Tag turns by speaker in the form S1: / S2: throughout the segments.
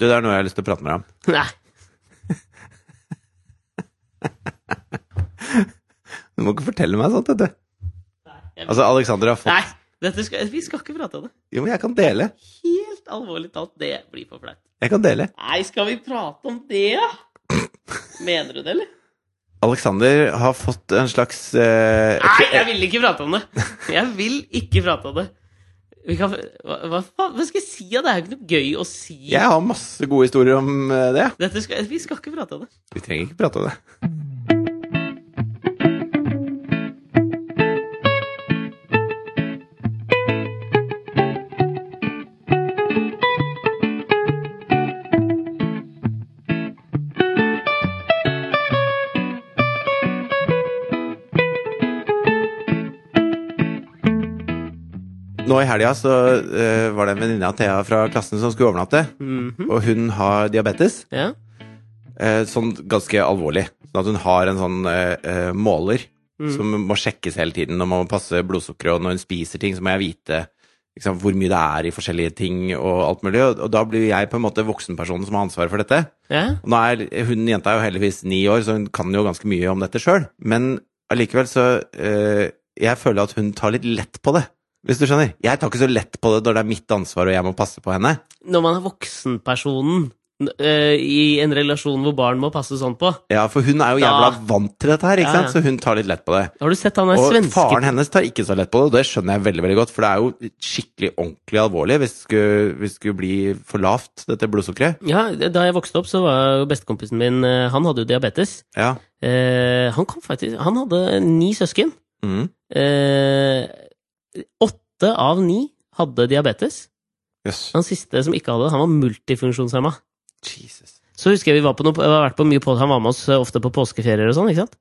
S1: Det der er noe jeg har lyst til å prate med deg om.
S2: Nei.
S1: Du må ikke fortelle meg sånt, vet du.
S2: Jeg-
S1: Altså, Alexander har fått
S2: Nei. Dette skal, vi skal ikke prate om det.
S1: Jo, men jeg kan dele.
S2: Helt alvorlig talt, det blir for flaut.
S1: Jeg kan dele.
S2: Nei, skal vi prate om det, da? Mener du det, eller?
S1: Alexander har fått en slags eh,
S2: Nei, jeg vil ikke prate om det! Jeg vil ikke prate om det. Vi kan, hva, hva faen hva skal jeg si? da? Det er jo ikke noe gøy å si.
S1: Jeg har masse gode historier om eh, det.
S2: Dette skal, vi skal ikke prate om det.
S1: Vi trenger ikke prate om det. Nå i helga så eh, var det en venninne av Thea fra klassen som skulle overnatte. Og hun har diabetes
S2: Ja.
S1: eh, sånn ganske alvorlig. Sånn at hun har en sånn eh, eh, måler
S2: Mm.
S1: som må sjekkes hele tiden når man må passe blodsukkeret, og når hun spiser ting, så må jeg vite liksom, hvor mye det er i forskjellige ting og alt mulig. Og, og da blir jeg på en måte voksenpersonen som har ansvaret for dette.
S2: ja.
S1: Og nå er hun jenta er jo heldigvis ni år, så hun kan jo ganske mye om dette sjøl. Men allikevel så eh, Jeg føler at hun tar litt lett på det. Hvis du skjønner? Jeg tar ikke så lett på det når det er mitt ansvar og jeg må passe på henne.
S2: Når man er voksenpersonen n- eh, i en relasjon hvor barn må passe sånn på
S1: Ja, For hun er jo
S2: Ja.
S1: jævla vant til dette her, ikke
S2: Ja,
S1: sant? så hun tar litt lett på det.
S2: Har du sett han der
S1: Og
S2: svenske
S1: faren hennes tar ikke så lett på det, og det skjønner jeg veldig veldig godt. For det er jo skikkelig ordentlig alvorlig hvis det skulle, hvis det skulle bli for lavt, dette blodsukkeret.
S2: Ja, Da jeg vokste opp, så var jo bestekompisen min eh, Han hadde jo diabetes.
S1: Ja.
S2: Eh, han kom faktisk Han hadde ni søsken.
S1: Mm.
S2: Eh, åtte av ni hadde diabetes.
S1: Yes.
S2: Han siste som ikke hadde det, han var multifunksjonshemma.
S1: Jesus.
S2: Så husker jeg vi var på noe, jeg har vært på mye på, han var med oss eh, ofte på påskeferier og sånn, ikke sant?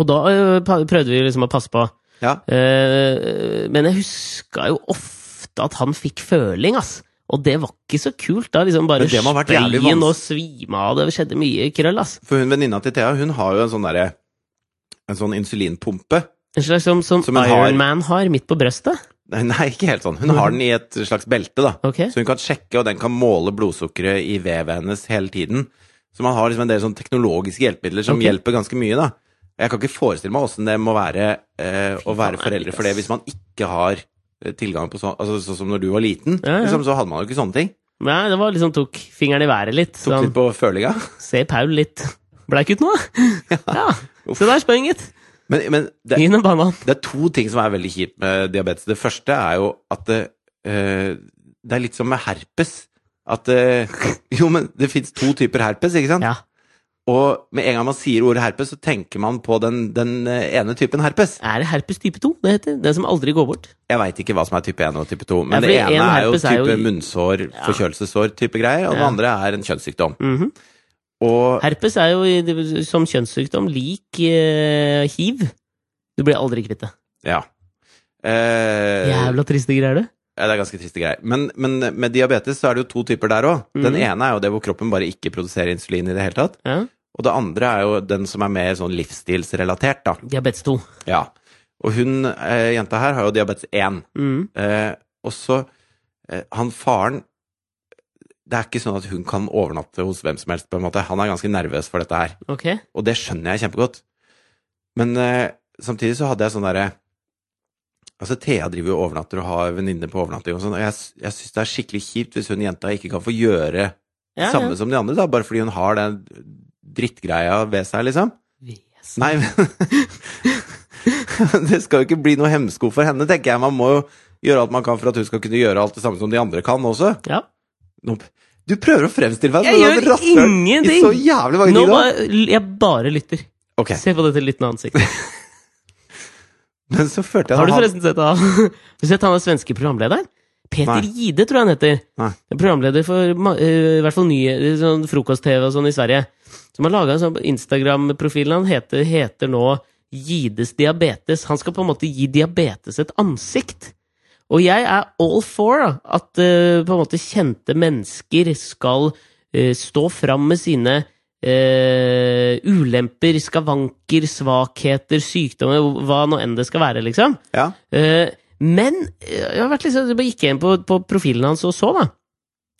S2: Og da eh, pa- prøvde vi liksom å passe på.
S1: Ja.
S2: Eh, men jeg huska jo ofte at han fikk føling, ass. Og det var ikke så kult da, liksom bare
S1: Men det må ha vært jævlig
S2: spreien
S1: vans-
S2: og svime av, det skjedde mye krøll, ass.
S1: For hun venninna til Thea, hun har jo en sånn derre En sånn insulinpumpe.
S2: En slags som, som,
S1: Som en har-
S2: Iron Man har midt på brøstet.
S1: Nei, nei, ikke helt sånn. Hun har den i et slags belte, da.
S2: Ok.
S1: Så hun kan sjekke, og den kan måle blodsukkeret i vevet hennes hele tiden. Så man har liksom en del sånn teknologiske hjelpemidler som
S2: Ok.
S1: hjelper ganske mye, da. Jeg kan ikke forestille meg åssen det må være eh, å
S2: faen,
S1: være
S2: det er
S1: foreldre for det
S2: dritt,
S1: hvis man ikke har eh, tilgang på sånn altså, Sånn som når du var liten,
S2: Ja, ja.
S1: Liksom, så hadde man jo ikke sånne ting.
S2: Nei, det var liksom tok fingeren i været litt.
S1: Tok
S2: Sånn,
S1: litt på følinga.
S2: se Paul litt bleik ut nå. Ja. Se der sprang gitt.
S1: Men, men det,
S2: Gi ham en banan.
S1: det er to ting som er veldig kjipt med diabetes. Det første er jo at det, eh, det er litt som med herpes. At eh, Jo, men det fins to typer herpes, ikke sant?
S2: Ja.
S1: Og med en gang man sier ordet herpes, så tenker man på den, den eh, ene typen herpes.
S2: Er det herpes type 2 det heter? Den som aldri går bort?
S1: Jeg veit ikke hva som er type 1 og type 2, men
S2: Ja,
S1: det
S2: fordi
S1: ene
S2: en
S1: er jo
S2: herpes er
S1: type
S2: jo i-
S1: munnsår, forkjølelsessår type greier, og det
S2: Ja.
S1: andre er en kjønnssykdom.
S2: Mhm.
S1: Og
S2: Herpes er jo i- det- som kjønnssykdom lik eh, hiv. Du blir aldri kvitt det.
S1: ja. Eh,
S2: Jævla triste greier, det.
S1: ja, det er ganske triste greier. Men, men med diabetes så er det jo to typer der òg. Den
S2: Mhm.
S1: ene er jo det hvor kroppen bare ikke produserer insulin i det hele tatt.
S2: Ja.
S1: Og det andre er jo den som er mer sånn livsstilsrelatert, da.
S2: Diabetes 2.
S1: Ja. Og hun eh, jenta her har jo diabetes 1.
S2: Mhm.
S1: Eh, og så eh, Han faren Det er ikke sånn at hun kan overnatte hos hvem som helst. på en måte. Han er ganske nervøs for dette her,
S2: Ok.
S1: og det skjønner jeg kjempegodt. Men eh, samtidig så hadde jeg sånn derre Altså, Thea driver jo og overnatter og har venninner på overnatting og sånn, og jeg, s- jeg syns det er skikkelig kjipt hvis hun jenta ikke kan få gjøre
S2: Ja,
S1: samme
S2: ja.
S1: som de andre, da, bare fordi hun har den drittgreia ved seg, liksom.
S2: Vesen.
S1: Nei, men Det skal jo ikke bli noe hemsko for henne, tenker jeg. Man må jo gjøre alt man kan for at hun skal kunne gjøre alt det samme som de andre kan også.
S2: Ja.
S1: Nå- Du prøver å fremstille meg
S2: Jeg
S1: et
S2: gjør
S1: rasshøl
S2: ingenting!
S1: I så jævlig mange
S2: Nå
S1: tider.
S2: bare, jeg bare lytter.
S1: Ok,
S2: Se på dette lyttende ansiktet.
S1: men så følte jeg
S2: Har du
S1: at han-
S2: forresten sett han Har du sett han er svenske programlederen? Peter
S1: Nei.
S2: Gide, tror jeg han heter.
S1: Nei.
S2: Programleder for ma- eh, i hvert fall nye, sånn frokost-TV og sånn i Sverige. Som har laga en sånn Instagram-profil. Han heter, heter nå Gides diabetes. Han skal på en måte gi diabetes et ansikt. Og jeg er all for da, at eh, på en måte kjente mennesker skal eh, stå fram med sine eh, ulemper, skavanker, svakheter, sykdommer, hva nå enn det skal være, liksom.
S1: Ja,
S2: sånn, Eh, men eh, jeg har vært liksom, jeg bare gikk inn på, på profilen hans og så, da.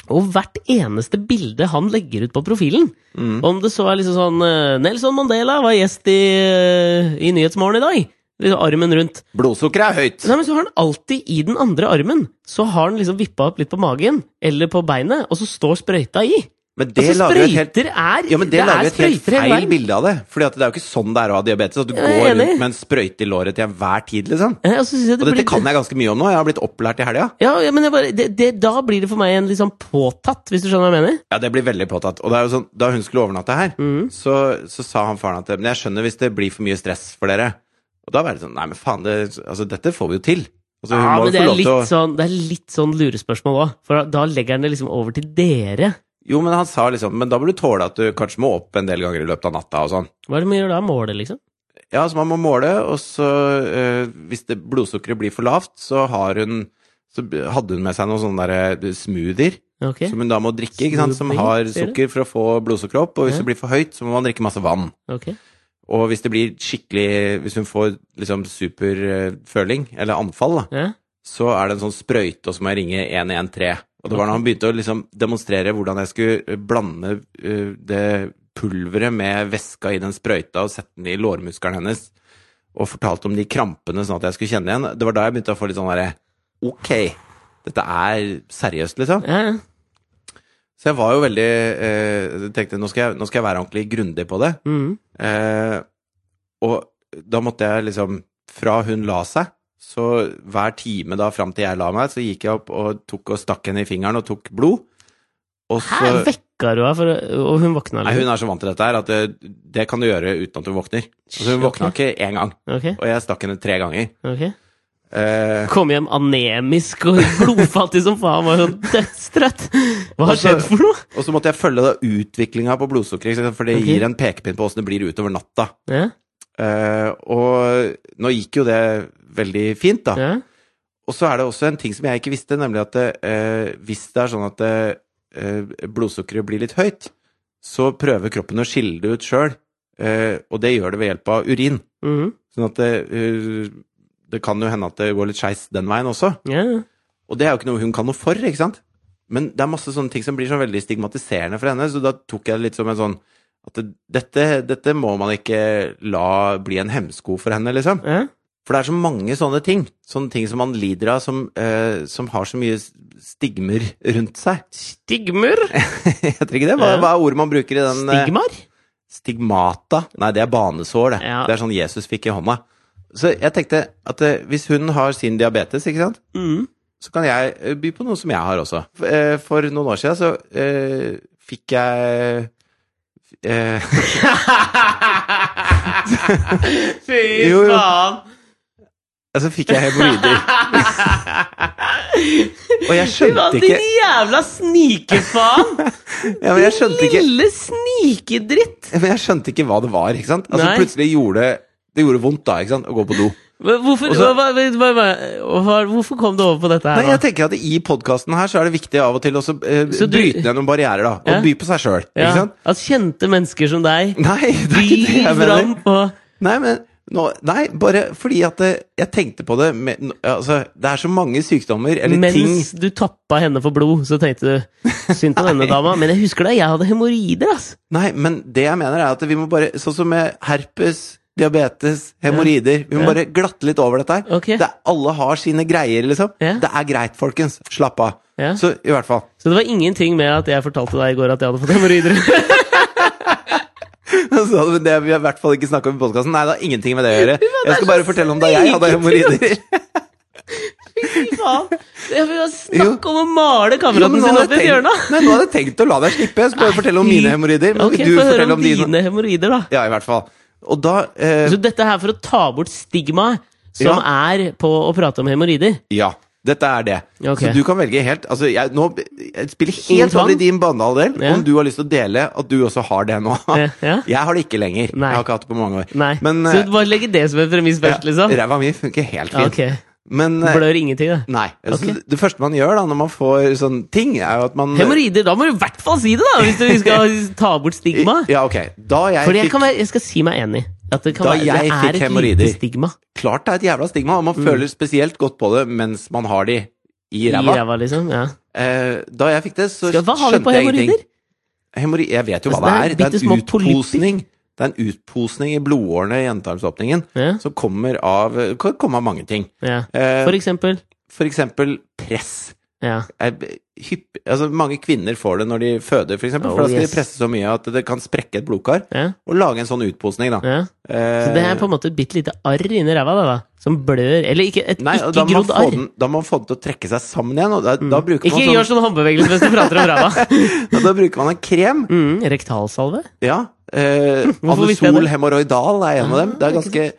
S2: Og hvert eneste bilde han legger ut på profilen
S1: Mm.
S2: Om det så er liksom sånn eh, Nelson Mandela var gjest i, eh, i Nyhetsmorgen i dag. Liksom Armen rundt.
S1: Blodsukkeret er høyt!
S2: Nei, men så har han alltid i den andre armen Så har han liksom vippa opp litt på magen eller på beinet, og så står sprøyta i.
S1: Men det
S2: Altså,
S1: lager jo et helt
S2: sprøyter er
S1: Ja, men det,
S2: er
S1: lager et helt
S2: sprøyter hele
S1: feil
S2: veien.
S1: bilde av det. Fordi at det er jo ikke sånn det er å ha diabetes. At du
S2: er
S1: går
S2: enig.
S1: rundt med en sprøyte i låret til enhver tid, liksom.
S2: Ja, Eh, og så synes jeg
S1: Og
S2: det
S1: dette
S2: blir-
S1: kan jeg ganske mye om nå. Jeg har blitt opplært i helga.
S2: Ja, ja, men jeg bare, det, det, da blir det for meg en litt sånn påtatt, hvis du skjønner hva jeg mener?
S1: Ja, det blir veldig påtatt. Og det er jo sånn, da hun skulle overnatte her,
S2: Mm.
S1: så, så sa han faren at Men jeg skjønner hvis det blir for mye stress for dere. Og da var det sånn Nei, men faen, det, altså, dette får vi jo til. Altså, hun
S2: Ja,
S1: må
S2: men
S1: jo
S2: det
S1: få
S2: er
S1: lov til å
S2: litt sånn, det er litt sånn lurespørsmål òg, for da, da legger han det liksom over til dere.
S1: Jo, men han sa liksom Men da må du tåle at du kanskje må opp en del ganger i løpet av natta og sånn.
S2: Hva er det man gjør da? Måler, liksom?
S1: Ja, så man må måle, og så eh, Hvis det blodsukkeret blir for lavt, så har hun Så hadde hun med seg noen sånne der eh, smoothier
S2: Ok.
S1: som hun da må drikke, ikke sant, som
S2: Smoothier,
S1: har
S2: sier du?
S1: sukker for å få blodsukkeret opp. Og hvis
S2: Ja.
S1: det blir for høyt, så må man drikke masse vann.
S2: ok.
S1: Og hvis det blir skikkelig Hvis hun får liksom superføling, eller anfall, da,
S2: Ja.
S1: så er det en sånn sprøyte, og så må jeg ringe 113. Og det var da han begynte å liksom demonstrere hvordan jeg skulle eh, blande eh, det pulveret med væska i den sprøyta og sette den i lårmuskelen hennes, og fortalte om de krampene sånn at jeg skulle kjenne igjen. Det var da jeg begynte å få litt sånn derre Ok, dette er seriøst, liksom.
S2: Ja, ja.
S1: Så jeg var jo veldig eh, Tenkte nå skal, jeg, nå skal jeg være ordentlig grundig på det.
S2: Mhm.
S1: Eh, og da måtte jeg liksom Fra hun la seg, så hver time da fram til jeg la meg, så gikk jeg opp og tok og stakk henne i fingeren og tok blod. Og
S2: Hæ,
S1: så
S2: vekka du henne, for- og hun våkna?
S1: Nei,
S2: Liksom.
S1: hun er så vant til dette her at det, det kan du gjøre uten at hun våkner. Så hun våkna ikke én gang,
S2: Ok,
S1: og jeg stakk henne tre ganger.
S2: ok.
S1: Eh,
S2: Kom hjem anemisk og blodfattig som faen, var jo dødstrøtt. Hva har
S1: Og så-
S2: skjedd for noe?
S1: og så måtte jeg følge da utviklinga på blodsukkeret, ikke sant, for det
S2: Ok.
S1: gir en pekepinn på åssen det blir utover natta.
S2: Ja,
S1: Eh, og nå gikk jo det veldig fint, da.
S2: ja.
S1: Og så er det også en ting som jeg ikke visste, nemlig at eh, hvis det er sånn at eh, blodsukkeret blir litt høyt, så prøver kroppen å skille det ut sjøl, eh, og det gjør det ved hjelp av urin.
S2: Mhm.
S1: Sånn at det, eh, det kan jo hende at det går litt skeis den veien også.
S2: ja. ja.
S1: Og det er jo ikke noe hun kan noe for, ikke sant? Men det er masse sånne ting som blir sånn veldig stigmatiserende for henne, så da tok jeg det litt som en sånn at det, dette, dette må man ikke la bli en hemsko for henne, liksom.
S2: ja.
S1: For det er så mange sånne ting. Sånne ting som man lider av, som, eh, som har så mye s- stigmer rundt seg.
S2: Stigmer?
S1: Heter ikke det? Hva,
S2: Ja.
S1: hva er ordet man bruker i den eh,
S2: Stigmar?
S1: Stigmata? Nei, det er banesår, det.
S2: Ja.
S1: Det er sånn Jesus fikk i hånda. Så jeg tenkte at eh, hvis hun har sin diabetes, ikke sant,
S2: Mhm.
S1: så kan jeg eh, by på noe som jeg har også. For, eh, for noen år siden så eh, fikk jeg eh,
S2: Fy
S1: Jo, jo.
S2: faen!
S1: Altså fikk jeg hemoroider. Og jeg skjønte ikke
S2: Din jævla snikefaen!
S1: ja, men jeg skjønte ikke
S2: Lille snikedritt!
S1: Men jeg skjønte ikke hva det var, ikke sant? Altså
S2: Nei.
S1: plutselig gjorde det- det gjorde vondt da, ikke sant, å gå på do.
S2: Hva- Hvorfor,
S1: Og så-
S2: hva- hva- hva- hva- hva- hvorfor kom du over på dette her?
S1: Nei,
S2: nå?
S1: jeg tenker at i podkasten her så er det viktig av og til å så, eh,
S2: Så du-
S1: bryte ned noen barrierer, da. Og
S2: Ja.
S1: by på seg sjøl, ikke
S2: ja,
S1: sant?
S2: at kjente mennesker som deg
S1: Nei, det er ikke det
S2: byr
S1: jeg mener.
S2: fram på
S1: Nei, men nå, nei, bare fordi at eh, jeg tenkte på det med, nå, Altså, det er så mange sykdommer eller ting
S2: Mens du tappa henne for blod, så tenkte du synd på denne dama. Men jeg husker da jeg hadde hemoroider, ass.
S1: Nei, men det jeg mener er at vi må bare Sånn som med herpes, diabetes, hemoroider Vi må
S2: Ja.
S1: bare glatte litt over dette her.
S2: Ok.
S1: Det er, alle har sine greier, liksom.
S2: Ja.
S1: Det er greit, folkens. Slapp av.
S2: Ja.
S1: Så i hvert fall.
S2: Så det var ingenting med at jeg fortalte deg i går at jeg hadde fått hemoroider.
S1: Så hadde vi- det vi har i hvert fall ikke snakka om i podkasten. Nei, det har ingenting med det å gjøre. Jeg skal bare fortelle om da jeg hadde hemoroider.
S2: Fy faen! Jeg vil bare
S1: Jo.
S2: snakke om å
S1: Jo,
S2: male
S1: men
S2: kameraten
S1: nå
S2: sin
S1: hadde
S2: opp i et
S1: jeg
S2: hjørne!
S1: tenkt- Nei, Nå hadde jeg tenkt å la deg slippe. Jeg skal bare fortelle om mine hemoroider. Men
S2: Ok,
S1: skal du
S2: få høre
S1: fortelle
S2: om dine hemoroider, da.
S1: Ja, i hvert fall. Og da eh,
S2: Så dette her for å ta bort stigmaet som er på å prate om hemoroider.
S1: Ja. Dette er det.
S2: Ok.
S1: Så du kan velge helt Altså, jeg, nå jeg spiller
S2: Ingen
S1: helt
S2: tvang?
S1: over i din banehalvdel
S2: Ja.
S1: om du har lyst til å dele at du også har det nå.
S2: Ja, ja.
S1: Jeg har det ikke lenger.
S2: Nei.
S1: Jeg har ikke hatt det på mange år.
S2: Nei.
S1: Men
S2: så du bare legger det som en premiss først, liksom?
S1: eh, ræva mi funker helt
S2: Ja,
S1: fint.
S2: ok.
S1: Men eh,
S2: Blør ingenting, det.
S1: Nei.
S2: Ok.
S1: Så det- det første man gjør da når man får sånne ting, er jo at man
S2: Hemoroider, da må du i hvert fall si det, da! Hvis du skal ta bort stigmaet.
S1: eh, Ja, ok. Da jeg
S2: For jeg,
S1: fikk
S2: kan være, jeg skal si meg enig. At det kan
S1: Da
S2: være,
S1: jeg
S2: det
S1: fikk
S2: er et
S1: hemoroider.
S2: lite stigma
S1: Klart det er et jævla stigma, og man føler spesielt godt på det mens man har de i
S2: Mm. i
S1: ræva.
S2: ræva, liksom. Ja.
S1: Eh, da jeg fikk det, så
S2: Skal, hva har vi på
S1: skjønte jeg
S2: hemoroider?
S1: ingenting. Hemorri- jeg vet jo hva
S2: Altså,
S1: det er. Det er
S2: bittesmå
S1: en
S2: polypper.
S1: utposning. Det er en utposning i blodårene i endetarmsåpningen
S2: Ja,
S1: som kommer av kan komme av mange ting.
S2: ja.
S1: Eh,
S2: For eksempel.
S1: for eksempel press.
S2: Ja.
S1: er b- hypp, altså mange kvinner får det når de føder, for eksempel.
S2: Oh,
S1: for da skal
S2: yes.
S1: de presse så mye at det kan sprekke et blodkar.
S2: ja,
S1: Og lage en sånn utposning, da.
S2: ja. Så det
S1: Eh.
S2: er på en måte et bitte lite arr inni ræva, da, da. Som blør. Eller ikke et
S1: Eh, Nei, og da
S2: ikke
S1: må, man
S2: grodd
S1: få
S2: arr.
S1: den, da må man få den til å trekke seg sammen igjen. Og da, da, bruker
S2: Ikke
S1: man
S2: gjør
S1: sånn,
S2: sånn håndbevegelse mens du prater om ræva.
S1: ja, da bruker man en krem.
S2: Mm, rektalsalve?
S1: Ja. Eh,
S2: Hvorfor visste jeg
S1: Anisol
S2: det?
S1: hemoroidal er en av dem. Det
S2: Ah,
S1: er ganske,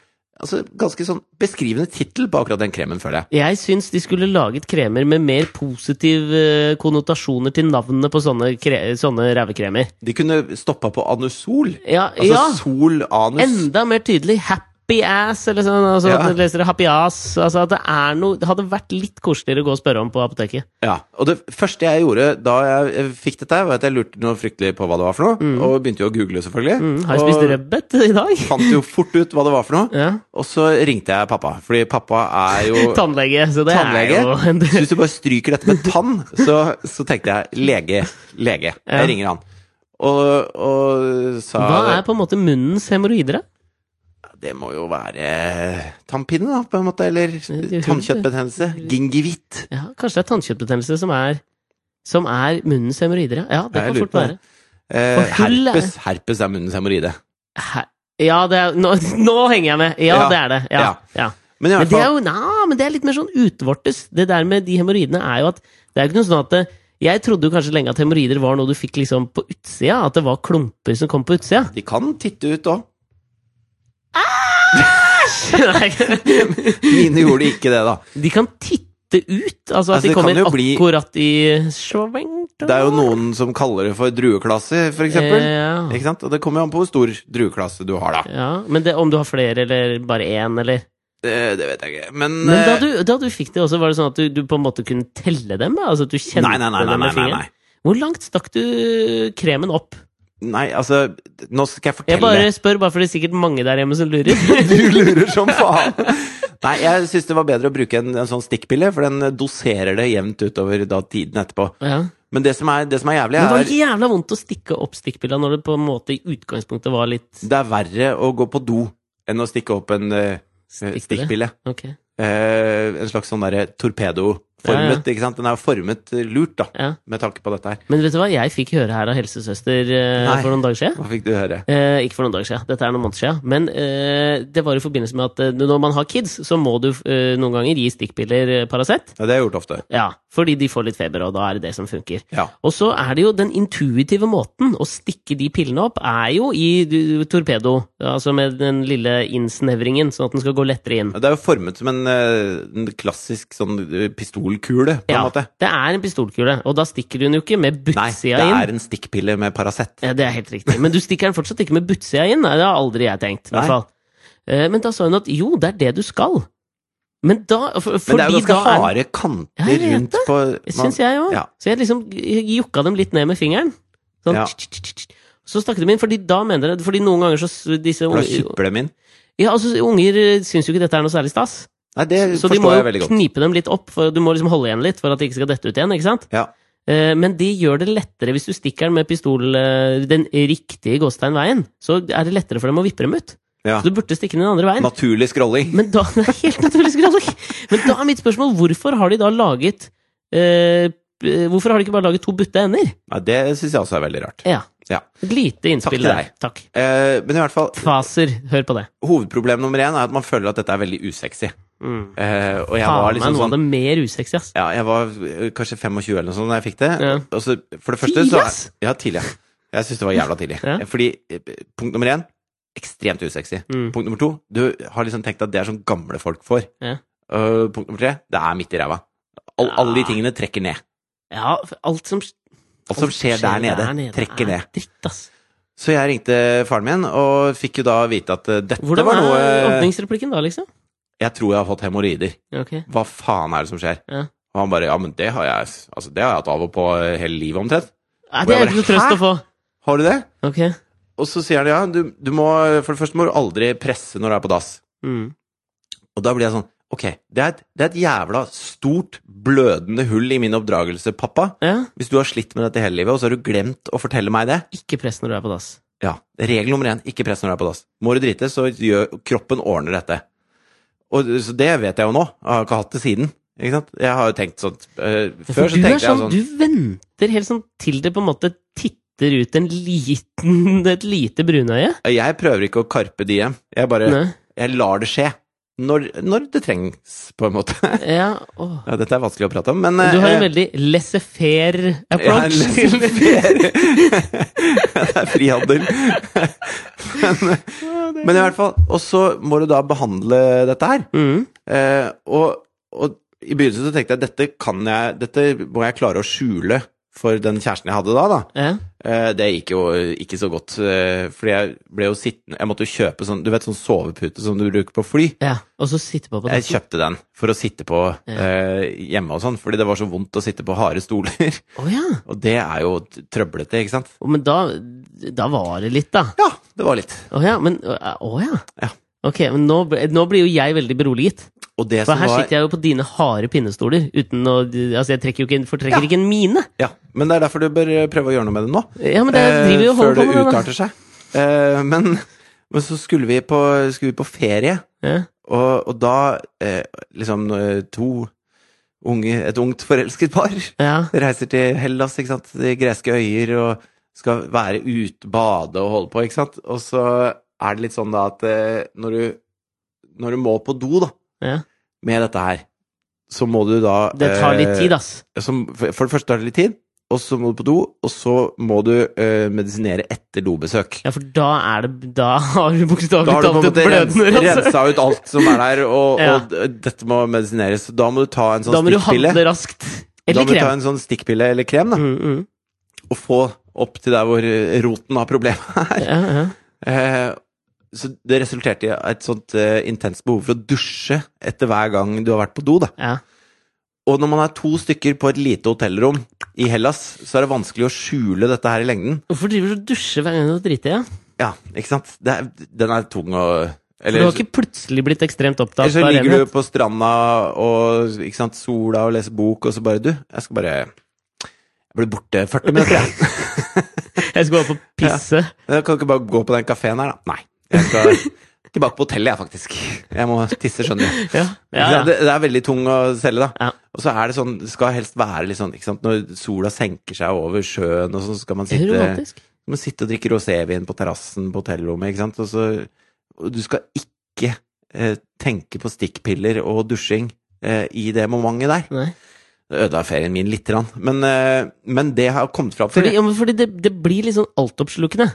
S1: altså, ganske sånn beskrivende tittel på akkurat den kremen, føler jeg.
S2: Jeg syns de skulle laget kremer med mer positive eh, konnotasjoner til navnene på sånne, kre sånne rævekremer.
S1: De kunne stoppa på anusol.
S2: Ja,
S1: Altså sol, anus.
S2: ja enda mer tydelig. Happy ass, eller sånn. Altså,
S1: Ja.
S2: at du leser det, happy ass. Altså, at det, er noe, det hadde vært litt koseligere å gå og spørre om på apoteket.
S1: Ja, og det første jeg gjorde da jeg eh, fikk dette, her, var at jeg lurte noe fryktelig på hva det var for noe, og begynte jo å google, selvfølgelig.
S2: Mm, har jeg spist
S1: og
S2: rødbet i dag?
S1: fant jo fort ut hva det var for noe.
S2: Ja.
S1: Og så ringte jeg pappa, fordi pappa er jo
S2: Tannlege, så det
S1: tannlege.
S2: er jo en
S1: Så hvis du bare stryker dette med tann, så, så tenkte jeg lege, lege.
S2: Ja.
S1: Jeg ringer han. Og, og sa
S2: Hva er på en måte munnens hemoroider? da?
S1: Det må jo være tannpine, da, på en måte. Eller
S2: det-
S1: tannkjøttbetennelse. Gingivitt.
S2: Ja, kanskje det er tannkjøttbetennelse som er, som er munnens hemoroider? Ja, Ja, det
S1: Ja, jeg
S2: kan
S1: lurer
S2: fort
S1: på
S2: være.
S1: det. Eh,
S2: Og hull er-
S1: herpes, herpes er munnens hemoroide.
S2: Hæ? Ja, det er, nå, nå henger jeg med! Ja,
S1: Ja.
S2: det er det. Ja,
S1: Ja.
S2: ja.
S1: Men i hvert
S2: Men det
S1: fall-
S2: er jo na, men det er litt mer sånn utvortes. Det der med de hemoroidene er jo at Det er jo ikke noe sånn at det, Jeg trodde jo kanskje lenge at hemoroider var noe du fikk liksom på utsida. At det var klumper som kom på utsida.
S1: De kan titte ut òg.
S2: Nei,
S1: Mine gjorde ikke det, da.
S2: de kan titte ut.
S1: Altså,
S2: Altså at
S1: det
S2: de
S1: kan
S2: kommer
S1: jo bli-
S2: akkurat i Schwenk-
S1: Det er jo noen som kaller det for drueklasse, for eksempel.
S2: Eh, ja.
S1: Ikke sant? Og det kommer jo an på hvor stor drueklasse du har, da.
S2: ja, Men det, om du har flere, eller bare én, eller
S1: Det, det vet jeg ikke. Men,
S2: Men da
S1: eh,
S2: du, da du fikk det også, var det sånn at du, du på en måte kunne telle dem? da? Altså at du kjente
S1: nei, nei, nei,
S2: dem
S1: nei,
S2: med
S1: nei, nei,
S2: fingeren?
S1: nei.
S2: Hvor langt stakk du kremen opp?
S1: Nei, altså Nå skal jeg
S2: Jeg
S1: fortelle.
S2: bare spør, bare for det er sikkert mange der hjemme som lurer.
S1: Du lurer som faen! Nei, jeg syns det var bedre å bruke en, en sånn stikkpille, for den doserer det jevnt utover da tiden etterpå.
S2: ja.
S1: Men det som er, det som er jævlig,
S2: Men var det
S1: er
S2: ikke jævla vondt å stikke opp stikkpilla når det på en måte i utgangspunktet var litt
S1: Det er verre å gå på do enn å stikke opp en eh,
S2: stikkpille?
S1: stikkpille.
S2: Ok.
S1: Eh, en slags sånn derre torpedoformet, ikke sant? Den er jo formet eh, lurt, da,
S2: Ja.
S1: med tanke på dette her.
S2: Men vet du hva jeg fikk høre her av helsesøster eh,
S1: Nei.
S2: for noen dager siden?
S1: Hva fikk du høre?
S2: Eh, ikke for noen dager siden, dette er noen måneder siden. Men eh, det var i forbindelse med at eh, når man har kids, så må du eh, noen ganger gi stikkpiller eh, Paracet.
S1: Ja, det har jeg gjort ofte.
S2: Ja, fordi de får litt feber, og da er det det som funker.
S1: Ja.
S2: Og så er det jo den intuitive måten å stikke de pillene opp, er jo i du- torpedo. Altså med den lille innsnevringen, sånn at den skal gå lettere inn.
S1: Ja, Det er jo formet som en, eh, en klassisk sånn eh, pistolkule, på en
S2: Ja,
S1: måte.
S2: det er en pistolkule, og da stikker du den jo ikke
S1: Nei,
S2: med
S1: det
S2: buttsida inn. Eh,
S1: er en stikkpille med Paracet.
S2: Ja, det er helt riktig. Men du stikker den fortsatt ikke med buttsida inn. Nei, det har aldri jeg tenkt. i
S1: Nei.
S2: hvert fall. Eh, Men da sa hun at jo, det er det du skal. Men da
S1: Men det er
S2: for,
S1: jo
S2: fordi
S1: ganske
S2: da er-
S1: harde
S2: Ja,
S1: kanter
S2: jeg vet
S1: rundt på man,
S2: Syns jeg òg.
S1: Ja.
S2: Så jeg liksom jukka dem litt ned med fingeren. Sånn.
S1: Ja.
S2: tsk, tsk, tsk, tsk. Så stakk de inn, fordi da mener jeg Fordi noen ganger så s- disse
S1: For da
S2: unger,
S1: supper dem inn.
S2: ja, altså, unger eh, syns jo ikke dette er noe særlig stas.
S1: Nei, det
S2: Så de må
S1: forstår jeg veldig
S2: jo
S1: godt.
S2: knipe dem litt opp, for du må liksom holde igjen litt for at det ikke skal dette ut igjen. ikke sant?
S1: Ja.
S2: Eh, Men de gjør det lettere hvis du stikker den med pistol eh, den riktige gåstegnveien. Så er det lettere for dem å vippe dem ut.
S1: ja.
S2: Så du burde stikke den den andre veien.
S1: Naturlig scrolling.
S2: Men da, det er helt naturlig skrallig. Men da er mitt spørsmål hvorfor har de da laget eh, eh, Hvorfor har de ikke bare laget to butte ender?
S1: Nei, det syns jeg også er veldig rart.
S2: Ja.
S1: Ja.
S2: Et lite
S1: Takk
S2: innspill
S1: til
S2: der.
S1: deg.
S2: Takk.
S1: Eh, men i hvert fall,
S2: Faser. Hør på det.
S1: hovedproblem nummer én er at man føler at dette er veldig usexy.
S2: Mm.
S1: Eh, og jeg var
S2: Faen meg
S1: liksom
S2: noe
S1: sånn
S2: av det mer usexy, ass.
S1: Ja, jeg var eh, kanskje 25 eller noe sånt da jeg fikk det.
S2: Ja.
S1: Og så, for det første
S2: Tidlig,
S1: så
S2: ass!
S1: Ja, tidlig. ja. Jeg syns det var jævla tidlig.
S2: Ja.
S1: Fordi eh, punkt nummer én ekstremt usexy.
S2: Mm.
S1: Punkt nummer to du har liksom tenkt at det er sånn gamle folk får.
S2: Ja.
S1: Eh, punkt nummer tre det er midt i ræva. All, Alle de
S2: Ja.
S1: tingene trekker ned.
S2: Ja, for alt som,
S1: Alt som skjer der nede, trekker
S2: er
S1: ned.
S2: Dritt, ass.
S1: Så jeg ringte faren min og fikk jo da vite at eh, dette
S2: Hvordan
S1: var noe
S2: er
S1: eh,
S2: åpningsreplikken da, liksom?
S1: Jeg tror jeg har fått hemoroider.
S2: Ok.
S1: Hva faen er det som skjer?
S2: Ja.
S1: Og han bare Ja, men det har jeg altså, det har jeg hatt av og på eh, hele livet, omtrent.
S2: Nei, det
S1: jeg
S2: er
S1: bare,
S2: ikke noe trøst
S1: hæ?
S2: å få.
S1: Har du det?
S2: Ok.
S1: Og så sier han ja, du, du må For det første må du aldri presse når du er på dass.
S2: Mm.
S1: Og da blir jeg sånn Ok, det er, et, det er et jævla stort, blødende hull i min oppdragelse, pappa.
S2: Ja,
S1: Hvis du har slitt med dette hele livet, og så har du glemt å fortelle meg det
S2: Ikke press når du er på dass.
S1: Ja, Regel nummer én, ikke press når du er på dass. Må du drite, så gjør kroppen ordner dette. Og så Det vet jeg jo nå. Jeg har ikke hatt det siden. Ikke sant? Jeg har jo tenkt sånn eh, Før
S2: For
S1: så
S2: du er
S1: tenkte jeg
S2: sånn,
S1: sånn
S2: du venter helt sånn til det på en måte titter ut en liten, et lite brunøye.
S1: Jeg prøver ikke å karpe de hjem. Jeg bare
S2: Nei.
S1: jeg lar det skje. Når, når det trengs, på en måte.
S2: Ja, åh.
S1: Ja, dette er vanskelig å prate om, men
S2: Du har
S1: eh,
S2: en veldig laissez-faire approach.
S1: Jeg er laissez-faire. det er frihandel. men, men i hvert fall Og så må du da behandle dette her.
S2: Mm.
S1: Eh, og, og i begynnelsen så tenkte jeg dette kan jeg Dette må jeg klare å skjule for den kjæresten jeg hadde da. da.
S2: Ja.
S1: Eh, det gikk jo ikke så godt, eh, fordi jeg ble jo sittende Jeg måtte jo kjøpe sånn Du vet sånn sovepute som du bruker på fly?
S2: ja. Og så sitte på på
S1: Jeg
S2: dassen.
S1: kjøpte den for å sitte på
S2: Ja.
S1: eh, hjemme og sånn, fordi det var så vondt å sitte på harde stoler.
S2: Å ja.
S1: Og det er jo t- trøblete, ikke sant?
S2: Å, Men da, da var det litt, da.
S1: Ja, det var litt.
S2: Å ja, men Å ja.
S1: Ja.
S2: Ok, men nå, ble- nå blir jo jeg veldig beroliget.
S1: Og det
S2: For
S1: som
S2: her
S1: var,
S2: sitter jeg jo på dine harde pinnestoler uten å Altså, jeg trekker jo ikke, en- fortrekker
S1: Ja.
S2: ikke en mine.
S1: ja, Men det er derfor du bør eh, prøve å gjøre noe med det nå.
S2: Ja, men det driver jo
S1: eh,
S2: og
S1: før
S2: holder
S1: det
S2: på med det,
S1: utarter seg. Eh, men, men så skulle vi på, skulle vi på ferie,
S2: da. Ja.
S1: og, og da eh, liksom eh, to unge, Et ungt forelsket par
S2: ja.
S1: reiser til Hellas, ikke sant? De greske øyer, og skal være ute, bade og holde på, ikke sant? Og så er det litt sånn da at eh, når du, når du må på do, da,
S2: Ja.
S1: med dette her, så må du da eh,
S2: Det tar litt tid, ass.
S1: som, for for det første tar det litt tid, og så må du på do, og så må du eh, medisinere etter dobesøk.
S2: Ja, for da er det Da har du bokstavelig
S1: Da har du på en
S2: talt et
S1: måte rens,
S2: blødende rass.
S1: rensa ut alt som er der, og,
S2: Ja.
S1: og d- dette må medisineres. Så Da må du ta en sånn
S2: Da må du
S1: stikkpille.
S2: handle raskt.
S1: Da
S2: Eller
S1: må du ta
S2: krem.
S1: en sånn stikkpille eller krem, da,
S2: Mm, mm.
S1: og få opp til der hvor eh, roten av problemet er.
S2: Ja, ja.
S1: Eh, så det resulterte i et sånt eh, intenst behov for å dusje etter hver gang du har vært på do, da.
S2: ja.
S1: Og når man er to stykker på et lite hotellrom i Hellas, så er det vanskelig å skjule dette her i lengden.
S2: Hvorfor driver du og dusjer hver gang du driter? Ja?
S1: Ja, ikke sant? Det er, den er tung å
S2: For
S1: Eller
S2: du har ikke plutselig blitt ekstremt opptatt
S1: eller så
S2: av
S1: ligger du
S2: renhet?
S1: på stranda og ikke sant, sola og leser bok, og så bare Du, jeg skal bare Jeg blir borte 40 minutter, jeg.
S2: Jeg skal bare på pisse.
S1: Jeg kan ikke bare gå på den kafeen her, da. Nei. Jeg skal tilbake på hotellet, jeg, faktisk. Jeg må tisse, skjønner du.
S2: Ja.
S1: Ikke
S2: Ja,
S1: sant?
S2: ja.
S1: Det, det er veldig tung å selge, da.
S2: Ja.
S1: Og så er det sånn, det skal helst være litt sånn, ikke sant, når sola senker seg over sjøen, og sånn, så skal man
S2: Det er
S1: sitte
S2: romantisk.
S1: Du må sitte og drikke rosévin på terrassen på hotellrommet, ikke sant? Og, så, og du skal ikke eh, tenke på stikkpiller og dusjing eh, i det momentet der.
S2: Nei.
S1: Det ødela ferien min lite grann, men, eh, men det har kommet fram. For
S2: Fordi,
S1: det
S2: ja, men fordi det, det blir litt sånn altoppslukende.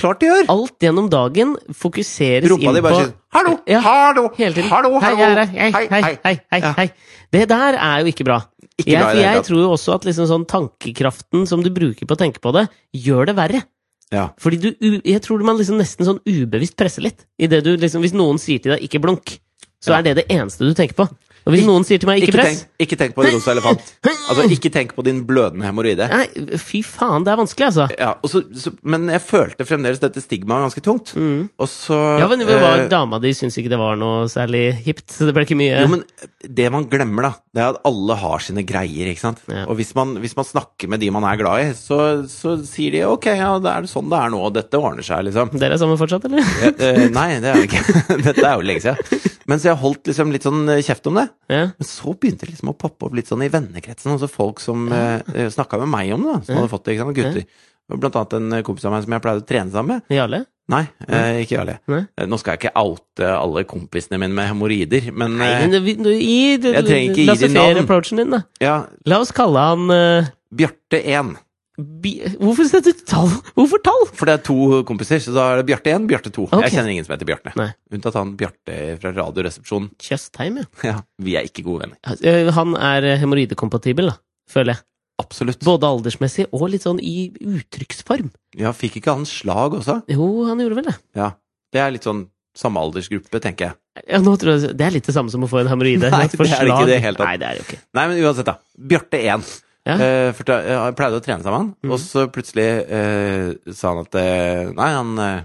S1: klart det gjør!
S2: Alt gjennom dagen fokuseres
S1: Rumpa
S2: inn
S1: di
S2: på
S1: bare sier 'hallo,
S2: Ja,
S1: hallo,
S2: hele tiden.
S1: hallo', hallo,
S2: Hei, jeg er her. Hei, hei, hei, hei, hei,
S1: Ja.
S2: Det der er jo ikke bra.
S1: Ikke
S2: jeg,
S1: bra i
S2: for
S1: det hele
S2: jeg
S1: tatt.
S2: tror jo også at liksom sånn tankekraften som du bruker på å tenke på det, gjør det verre.
S1: Ja.
S2: Fordi du, u- jeg tror man liksom nesten sånn ubevisst presser litt. I det du liksom, hvis noen sier til deg 'ikke blunk', så
S1: Ja.
S2: er det det eneste du tenker på. Og hvis
S1: Ik-
S2: noen sier til meg 'ikke, press',
S1: tenk, ikke tenk på en rosa elefant. Altså, ikke tenk på din blødende hemoroide.
S2: nei, fy faen, det er vanskelig, altså.
S1: Ja, og så, så, men jeg følte fremdeles dette stigmaet ganske tungt. Og så
S2: Mm. Ja, men det
S1: eh,
S2: var, Dama di syntes ikke det var noe særlig hipt, så det ble ikke mye
S1: Jo, men det man glemmer, da, det er at alle har sine greier, ikke sant.
S2: Ja.
S1: Og hvis man, hvis man snakker med de man er glad i, så, så sier de ok, ja, det er sånn det er nå, dette ordner seg, liksom.
S2: Dere er sammen fortsatt, eller?
S1: Eh, eh, nei, det er det ikke. dette er jo lenge siden. Men så jeg holdt liksom litt sånn eh, kjeft om det.
S2: Ja.
S1: Men så begynte det liksom å poppe opp litt sånn i vennekretsen, altså folk som eh, snakka med meg om det, da, som hadde fått det, ikke sant, gutter. Og Blant annet en eh, kompis av meg som jeg pleide å trene sammen med.
S2: Jarle?
S1: Nei, eh, ikke Jarle.
S2: Nei.
S1: Eh, Nå skal jeg ikke oute alle kompisene mine med hemoroider, men
S2: Nei,
S1: eh,
S2: men vi- du, i, du,
S1: Jeg trenger ikke
S2: la
S1: gi de
S2: oss feire
S1: navn.
S2: approachen din, da.
S1: ja,
S2: La oss kalle han eh,
S1: Bjarte 1.
S2: bi, Hvorfor setter du tall? Hvorfor tall?
S1: For det er to kompiser, så da er det Bjarte 1, Bjarte 2.
S2: Ok.
S1: Jeg kjenner ingen som heter Bjarte.
S2: Nei.
S1: Unntatt han Bjarte fra Radioresepsjonen.
S2: Tjøstheim, ja.
S1: Ja, vi er ikke gode venner.
S2: Eh, Han er eh, hemoroidekompatibel, da. Føler jeg.
S1: Absolutt.
S2: Både aldersmessig og litt sånn i uttrykksform.
S1: Ja, fikk ikke han slag også?
S2: Jo, han gjorde vel det.
S1: Ja. Det er litt sånn samme aldersgruppe, tenker jeg.
S2: Ja, nå tror jeg, det er litt det samme som å få en hemoroide.
S1: Nei,
S2: At for
S1: det er det ikke i
S2: slag-
S1: det hele tatt.
S2: Nei, det er det jo ikke.
S1: Nei, men uansett, da. Bjarte 1.
S2: Ja.
S1: Eh, for da, jeg pleide å trene sammen,
S2: Mhm.
S1: og så plutselig eh, sa han at eh, Nei, han, eh,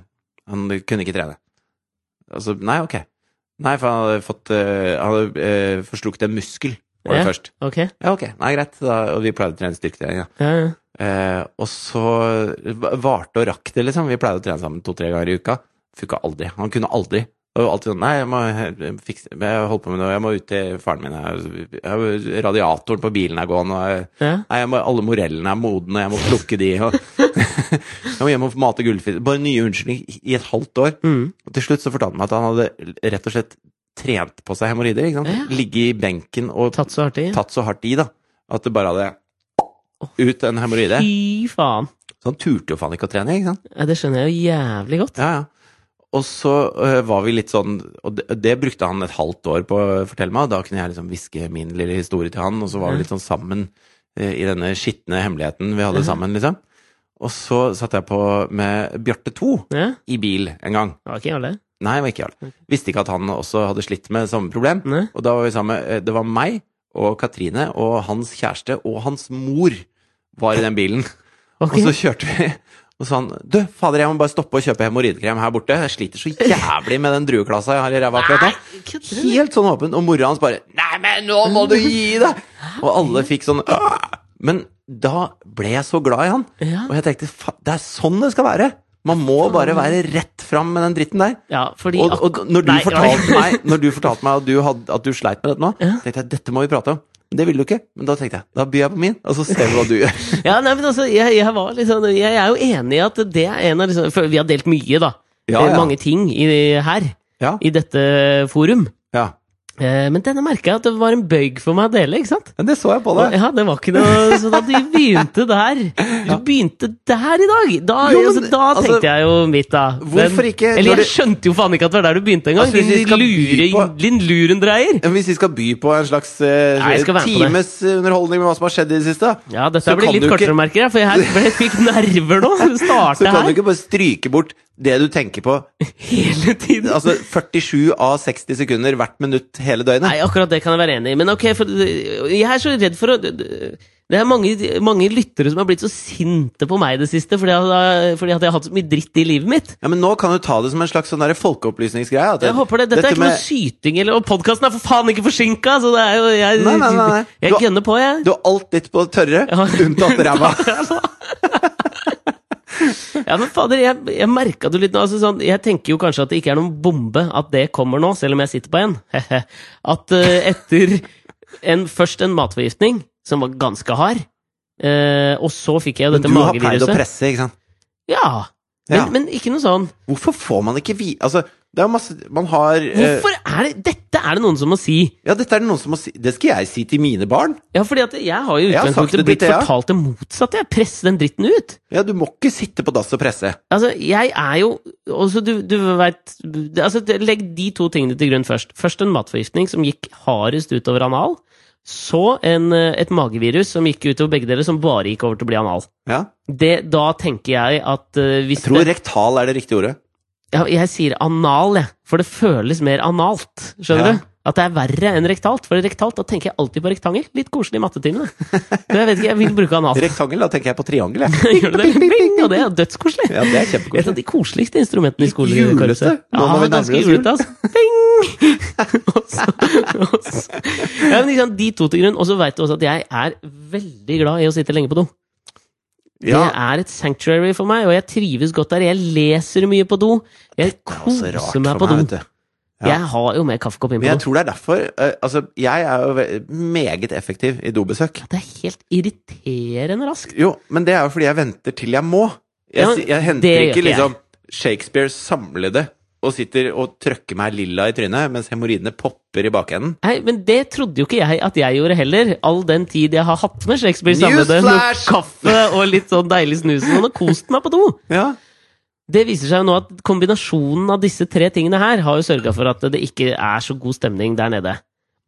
S1: han kunne ikke trene. Altså, nei, ok. Nei, for han hadde fått eh, Han hadde eh, forslukket en muskel, var det
S2: Ja.
S1: først.
S2: Ok.
S1: Ja, ok. Nei, greit. Da, og vi pleide å trene styrketrening, da.
S2: Ja, ja.
S1: Eh, og så va- varte og rakk det, liksom. Vi pleide å trene sammen to-tre ganger i uka. Funka aldri. Han kunne aldri. Og alltid sånn Nei, jeg må he- fikse Jeg holder på med noe, jeg må ut til faren min. Jeg, jeg, radiatoren på bilen er gående, og jeg,
S2: ja.
S1: nei, jeg må, alle morellene er modne, jeg må plukke de, og Jeg må hjem og mate gullfisk. Bare nye unnskyldninger i et halvt år.
S2: Mm.
S1: Og til slutt så fortalte han meg at han hadde rett og slett trent på seg hemoroider. ikke sant?
S2: Ja.
S1: Ligge i benken og
S2: Tatt så hardt i.
S1: tatt så hardt i, da, at det bare hadde ut en hemoroide.
S2: Fy faen.
S1: Så han turte jo faen ikke å trene, ikke sant?
S2: Ja, det skjønner jeg jo jævlig godt.
S1: Ja, ja. Og så øh, var vi litt sånn, og det, det brukte han et halvt år på å fortelle meg, og da kunne jeg liksom hviske min lille historie til han, og så var vi litt sånn sammen øh, i denne skitne hemmeligheten vi hadde sammen, liksom. Og så satt jeg på med Bjarte 2
S2: Ja,
S1: i bil en gang.
S2: det var ikke jævlig.
S1: Nei, det var ikke Jarl. Visste ikke at han også hadde slitt med samme problem.
S2: Nei.
S1: Og da var vi sammen. Eh, Det var meg og Katrine og hans kjæreste og hans mor var i den bilen.
S2: Ok.
S1: Og så kjørte vi, og sa han Du, fader, jeg må bare stoppe og kjøpe hemoroidekrem her borte. Jeg sliter så jævlig med den drueklassa jeg har i ræva akkurat nå.
S2: kødder du?
S1: Helt sånn åpen. Og mora hans bare Nei, men nå må du gi deg! Og alle fikk sånn «Åh!» Men da ble jeg så glad i han.
S2: Ja.
S1: Og jeg tenkte "Fa- det er sånn det skal være. Man må bare være rett fram med den dritten der.
S2: ja, fordi
S1: Og, og når, du
S2: Nei,
S1: fortalte
S2: ja.
S1: meg, når du fortalte meg at du, hadde, at du sleit med dette nå,
S2: Ja.
S1: tenkte jeg dette må vi prate om. Men det ville du ikke. Men da tenkte jeg da byr jeg på min, og så ser vi hva du gjør.
S2: Ja, nei, men altså, jeg, jeg, var litt sånn- jeg er jo enig i at det er en av liksom, for Vi har delt mye, da.
S1: Ja,
S2: Eh,
S1: ja.
S2: Mange ting i, her,
S1: Ja,
S2: i dette forum.
S1: ja.
S2: Eh, men denne merka jeg at det var en bøyg for meg å dele, ikke sant?
S1: Men det så jeg på deg.
S2: Ja, det var ikke noe Så da du begynte der Du begynte der i dag! Da,
S1: Jo, men
S2: altså, da
S1: altså,
S2: tenkte jeg jo mitt, da.
S1: hvorfor ikke- når
S2: Eller
S1: det-
S2: jeg skjønte jo faen ikke at det var der du begynte engang!
S1: Altså, hvis vi
S2: Din
S1: skal
S2: lure,
S1: by på-
S2: din lurendreier!
S1: Men Hvis vi skal by på en slags eh,
S2: Nei, jeg skal være med på det.
S1: times eh, underholdning med hva som har skjedd i det siste, da,
S2: Ja, dette
S1: Så
S2: blir
S1: kan du
S2: litt
S1: ikke-
S2: kortere, merker jeg, for jeg, her, jeg fikk nerver nå!
S1: så
S2: Starte
S1: kan du
S2: her
S1: ikke bare stryke bort det du tenker på.
S2: hele tiden.
S1: Altså 47 av 60 sekunder hvert minutt hele døgnet.
S2: Nei, akkurat det kan jeg være enig i. Men ok, for jeg er så redd for å Det er mange, mange lyttere som har blitt så sinte på meg i det siste fordi at, fordi at jeg har hatt så mye dritt i livet mitt.
S1: Ja, Men nå kan du ta det som en slags sånn der folkeopplysningsgreie. at
S2: Jeg håper det, Dette er ikke
S1: med-
S2: noe syting, eller, og podkasten er for faen ikke forsinka! Så det er jo Jeg,
S1: Nei, nei, nei, nei. Du
S2: jeg
S1: har-
S2: gønner på, jeg.
S1: Du har alt litt på det tørre,
S2: Ja.
S1: unntatt ræva.
S2: Ja, men fader, jeg, jeg merka det litt nå. Altså, sånn, jeg tenker jo kanskje at det ikke er noen bombe at det kommer nå, selv om jeg sitter på en. at eh, etter en, først en matforgiftning, som var ganske hard, eh, og så fikk jeg jo
S1: Men
S2: dette
S1: du har pleid å
S2: mageviruset.
S1: presse, ikke sant?
S2: Ja, men,
S1: Ja.
S2: men ikke noe sånn.
S1: Hvorfor får man ikke vi... Altså, det er masse Man har eh,
S2: Hvorfor er det Dette er det noen som må si.
S1: Ja, dette er det noen som må si Det skal jeg si til mine barn.
S2: Ja, fordi at jeg har jo i
S1: Jeg har sagt
S2: utgangspunktet
S1: det
S2: blitt
S1: til deg.
S2: fortalt det motsatte. Jeg presser den dritten ut.
S1: Ja, du må ikke sitte på dass og presse.
S2: Altså, jeg er jo også, Du, du veit altså, Legg de to tingene til grunn først. Først en matforgiftning som gikk hardest utover anal. Så en, eh, et magevirus som gikk utover begge deler, som bare gikk over til å bli anal.
S1: Ja.
S2: Det, da tenker jeg at eh, hvis
S1: Jeg tror
S2: det,
S1: rektal er det riktige ordet.
S2: ja, Jeg sier anal, jeg. For det føles mer analt. Skjønner
S1: Ja.
S2: du? At det er verre enn rektalt. For rektalt, da tenker jeg alltid på rektangel. Litt koselig i mattetimene. Så jeg vet ikke, jeg vil bruke anal.
S1: Rektangel, da tenker jeg på triangel, jeg.
S2: Gjør du det? Bing, og det er dødskoselig.
S1: Ja, det er
S2: Et av
S1: kjempekoselig.
S2: de koseligste instrumentene i
S1: Litt julete.
S2: skolekorpset.
S1: Nå
S2: Ja,
S1: må vi nærme
S2: ganske
S1: oss jul.
S2: julete, altså. Ding! Og så- og så- ja, men ikke sant, de to til grunn. Og så veit du også at jeg er veldig glad i å sitte lenge på do.
S1: Ja,
S2: Det er et sanctuary for meg, og jeg trives godt der. Jeg leser mye på do. Jeg
S1: det er også rart
S2: koser
S1: for
S2: meg
S1: meg,
S2: på do.
S1: vet du. ja.
S2: Jeg har jo med kaffekopp inn
S1: Men
S2: på
S1: jeg
S2: do.
S1: tror det er derfor eh, Altså, jeg er jo ve- meget effektiv i dobesøk.
S2: Det er helt irriterende raskt.
S1: Jo, men det er jo fordi jeg venter til jeg må. Jeg,
S2: Ja,
S1: si- jeg
S2: det
S1: henter
S2: gjør
S1: ikke
S2: ikke jeg.
S1: liksom Shakespeare samlede og sitter og trøkker meg lilla i trynet mens hemoroidene popper i bakenden.
S2: Nei, men det trodde jo ikke jeg at jeg gjorde heller, all den tid jeg har hatt med Shakespeare samlede. Noe
S1: Newsflash!
S2: kaffe og litt sånn deilig snus og noe, kost meg på do.
S1: Ja.
S2: Det viser seg jo nå at kombinasjonen av disse tre tingene her har jo sørga for at det ikke er så god stemning der nede.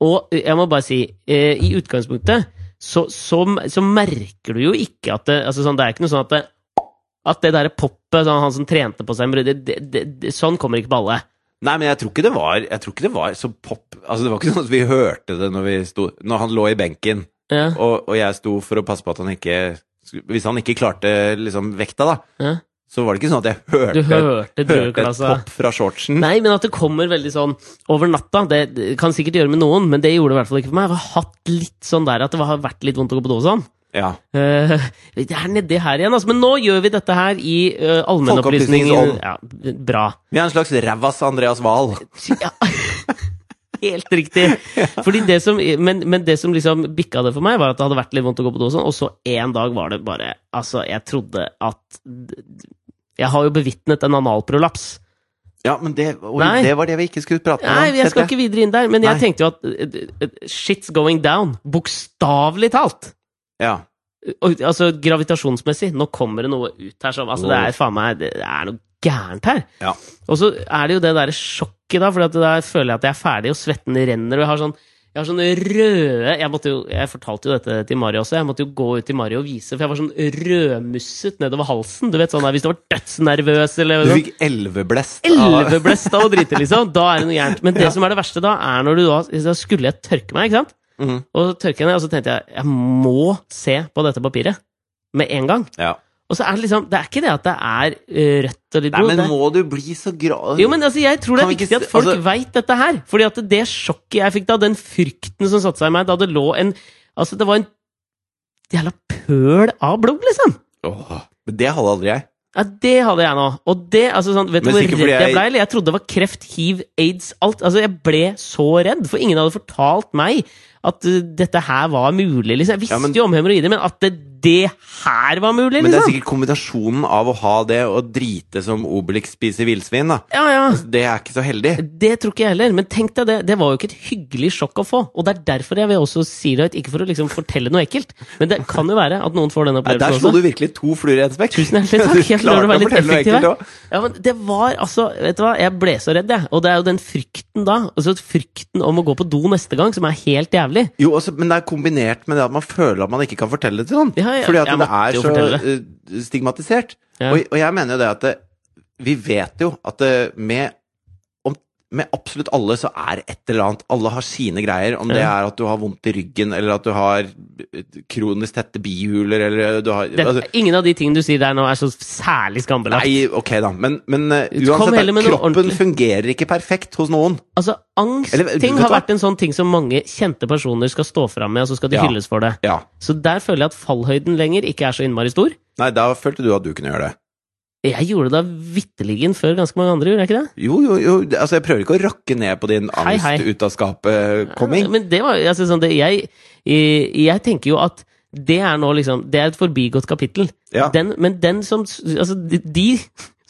S2: Og eh, jeg må bare si, eh, i utgangspunktet så, så, så merker du jo ikke at det altså sånn, Det er ikke noe sånn at det, at det derre poppet, sånn, han som trente på seg en brudde, det, det, det, sånn kommer ikke på alle.
S1: Nei, men jeg tror ikke det var Jeg tror ikke det var så pop Altså, det var ikke sånn at vi hørte det når vi sto Når han lå i benken,
S2: Ja,
S1: og, og jeg sto for å passe på at han ikke skulle- Hvis han ikke klarte liksom vekta, da,
S2: ja.
S1: så var det ikke sånn at jeg hørte,
S2: Du hørte
S1: hørte et
S2: drueklassa.
S1: pop fra shortsen.
S2: Nei, men at det kommer veldig sånn over natta, det det kan sikkert gjøre med noen, men det gjorde det i hvert fall ikke for meg. Jeg har hatt litt sånn der at det har vært litt vondt å gå på do og sånn.
S1: Ja.
S2: Eh, det er nedi her igjen, altså. Men nå gjør vi dette her i uh, allmennopplysningen.
S1: Folkeopplysningens ånd.
S2: Ja, bra.
S1: Vi er en slags rævas Andreas Wahl.
S2: Ja. Helt riktig. Fordi det som, men, men det som liksom bikka det for meg, var at det hadde vært litt vondt å gå på do og sånn, og så en dag var det bare Altså, jeg trodde at Jeg har jo bevitnet en analprolaps.
S1: Ja, men det, oi,
S2: Nei.
S1: det var det vi ikke skulle prate om.
S2: Nei, jeg skal ikke videre inn der, men jeg
S1: Nei.
S2: tenkte jo at eh, eh, shit's going down. Bokstavelig talt!
S1: Ja.
S2: Og, altså gravitasjonsmessig. Nå kommer det noe ut her som Altså, det er faen meg Det er noe gærent her.
S1: Ja.
S2: Og så er det jo det derre sjokket, da, for at der føler jeg at jeg er ferdig, og svetten renner, og jeg har sånn jeg har sånne røde jeg, måtte jo, jeg fortalte jo dette til Mari også. Jeg måtte jo gå ut til Mari og vise, for jeg var sånn rødmusset nedover halsen. Du vet sånn der, Hvis du var dødsnervøs eller
S1: Du
S2: noe.
S1: fikk elveblest. av-
S2: Elveblest av å drite, liksom. Da er det noe gærent. Men det som er det verste da, er når du da Da skulle jeg tørke meg, ikke sant?
S1: Mhm.
S2: Og så tørker jeg meg, og så tenkte jeg jeg må se på dette papiret med en gang.
S1: Ja.
S2: Og så er det liksom Det er ikke det at det er eh, rødt og litt
S1: Nei,
S2: blod.
S1: men
S2: det-
S1: må du bli så gra...
S2: jo, men altså, jeg tror det
S1: Kan
S2: er
S1: vi ikke
S2: viktig at
S1: se-
S2: folk
S1: altså-
S2: veit dette her. Fordi at det sjokket jeg fikk da, den frykten som satte seg i meg da det lå en Altså, det var en jævla pøl av blod, liksom.
S1: Åh, men det hadde aldri jeg.
S2: Ja, det hadde jeg nå. Og det, altså sånn, Vet du
S1: Men
S2: hvor
S1: sikkert
S2: redd
S1: fordi
S2: jeg
S1: jeg-
S2: ble? eller? Jeg trodde det var kreft, hiv, aids, alt. Altså, Jeg ble så redd, for ingen hadde fortalt meg at uh, dette her var mulig. liksom. Jeg visste
S1: Ja, men-
S2: jo om hemoroider, men at det, det her var mulig,
S1: Men det er
S2: liksom!
S1: sikkert kombinasjonen av å ha det og drite som Obelix spiser villsvin, da. Altså,
S2: Ja, ja.
S1: Det er ikke så heldig.
S2: Det tror ikke jeg heller, men tenk deg det. Det var jo ikke et hyggelig sjokk å få. Og det er derfor jeg vil også si det høyt, ikke for å liksom fortelle noe ekkelt, men det kan jo være at noen får den
S1: Nei, der
S2: opplevelsen
S1: slo du
S2: også.
S1: virkelig to fluer i en smekk.
S2: Tusen hjertelig takk. Jeg prøver å være litt effektiv her.
S1: òg.
S2: Ja, men det var altså Vet du hva, jeg ble så redd, jeg. Og det er jo den frykten da. Altså frykten om å gå på do neste gang, som er helt jævlig.
S1: Jo, også, men det er kombinert med det at man føler at man ikke kan fortelle det til noen.
S2: Ja, ja,
S1: fordi at
S2: jeg
S1: det
S2: måtte
S1: er
S2: jo
S1: så
S2: fortelle
S1: eh, stigmatisert.
S2: Ja.
S1: Og, og jeg mener jo det at det, vi vet jo at det, med, om, med absolutt alle så er et eller annet Alle har sine greier. Om det
S2: Ja.
S1: er at du har vondt i ryggen, eller at du har eh, kronisk tette bihuler, eller du har
S2: Det,
S1: altså,
S2: ingen av de tingene du sier der nå, er så særlig skambelagt.
S1: Nei, ok da, men, men eh,
S2: Kom
S1: uansett,
S2: heller med
S1: da,
S2: noe
S1: kroppen
S2: ordentlig.
S1: fungerer ikke perfekt hos noen.
S2: Altså,
S1: Eller,
S2: angstting
S1: vet du
S2: har
S1: hva?
S2: vært en sånn ting som mange kjente personer skal stå fram med, og så skal de
S1: Ja.
S2: hylles for det.
S1: Ja.
S2: Så der føler jeg at fallhøyden lenger ikke er så innmari stor.
S1: Nei, da følte du at du kunne gjøre det.
S2: Jeg gjorde det da vitterligen før ganske mange andre, gjorde jeg ikke det?
S1: Jo, jo, jo, altså jeg prøver ikke å rakke ned på din
S2: Hei, hei.
S1: angst ut av eh, skapet-komming.
S2: Men det var altså, sånn, det, jeg, eh, jeg tenker jo at det er nå liksom Det er et forbigått kapittel.
S1: Ja.
S2: Den, men den som Altså, de, de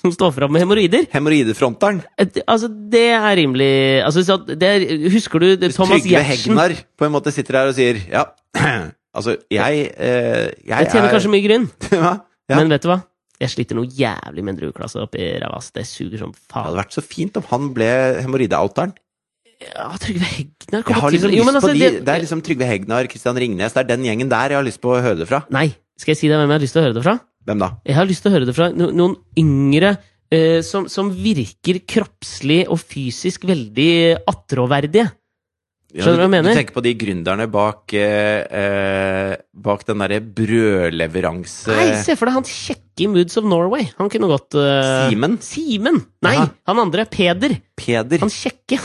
S2: som står fram med hemoroider
S1: Hemoroidefronteren.
S2: eh, Altså, det er rimelig altså, så at det er, Husker du det- Thomas
S1: Trygve
S2: Gjertsen?
S1: Hegnar på en måte sitter her og sier ja, altså jeg eh, Jeg,
S2: Jeg tjener
S1: er
S2: kanskje mye grunn,
S1: ja, ja.
S2: men vet du hva? Jeg sliter noe jævlig med en drueklasse oppi ræva. ass. Det suger som
S1: Det hadde
S2: faen.
S1: vært så fint om han ble hemoroideouteren.
S2: Ja, Trygve Hegnar
S1: Jeg
S2: kommer
S1: har liksom
S2: til Jo, men
S1: lyst på
S2: altså,
S1: de
S2: det-
S1: Det er liksom Trygve Hegnar, Kristian Ringnes, det er den gjengen der jeg har lyst på å høre det fra.
S2: Nei. Skal jeg si deg hvem jeg har lyst til å høre det fra?
S1: Hvem da?
S2: Jeg har lyst til å høre det fra no noen yngre eh, som, som virker kroppslig og fysisk veldig attråverdige.
S1: Ja,
S2: Skjønner du hva jeg mener?
S1: Du tenker på de gründerne bak, eh, eh, bak den derre brødleveranse...
S2: Nei, se for deg han kjekke i Moods of Norway. Han kunne godt eh,
S1: Simen?
S2: Simen! Nei,
S1: Jaha.
S2: han andre. Peder.
S1: Peder.
S2: Han kjekke.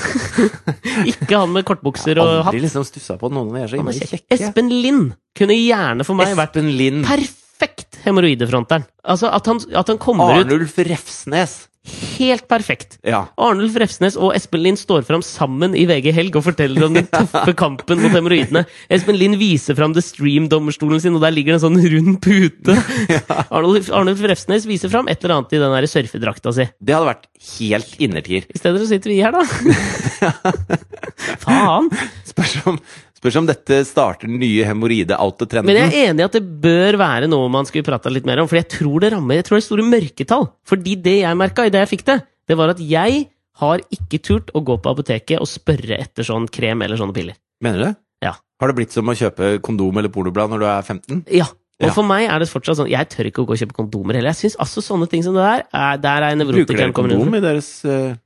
S2: Ikke han med kortbukser og hatt.
S1: Aldri liksom stussa på at noen av de er så
S2: Han er
S1: innmari
S2: kjekk.
S1: kjekke.
S2: Espen Lind kunne gjerne for meg vært
S1: Espen Lind.
S2: perfekt hemoroidefronteren. Altså at han, at han kommer
S1: Arnulf Refsnes.
S2: ut helt perfekt.
S1: Ja.
S2: Arnulf Refsnes og Espen Lind står fram sammen i VG Helg og forteller om den tøffe kampen mot hemoroidene. Espen Lind viser fram The Stream-dommerstolen sin, og der ligger det en sånn rund pute. Arnulf, Arnulf Refsnes viser fram et eller annet i den der surfedrakta si.
S1: Det hadde vært helt innertier.
S2: I stedet så sitter vi her, da. Faen!
S1: Spørs om, spørs om dette starter den nye
S2: Men jeg
S1: hemoroide-out-trenden.
S2: er enig i at det bør være noe man skulle prata litt mer om, for jeg tror det rammer Jeg tror det er store mørketall. Fordi det jeg merka idet jeg fikk det, det var at jeg har ikke turt å gå på apoteket og spørre etter sånn krem eller sånne piller.
S1: Mener du det?
S2: Ja.
S1: Har det blitt som å kjøpe kondom eller pornoblad når du er 15?
S2: Ja. Og
S1: Ja.
S2: for meg er det fortsatt sånn Jeg tør ikke å gå og kjøpe kondomer heller. Jeg synes altså sånne ting som det der er, Der er nevrotikeren
S1: Bruker dere
S2: kommer inn.
S1: kondom i deres eh,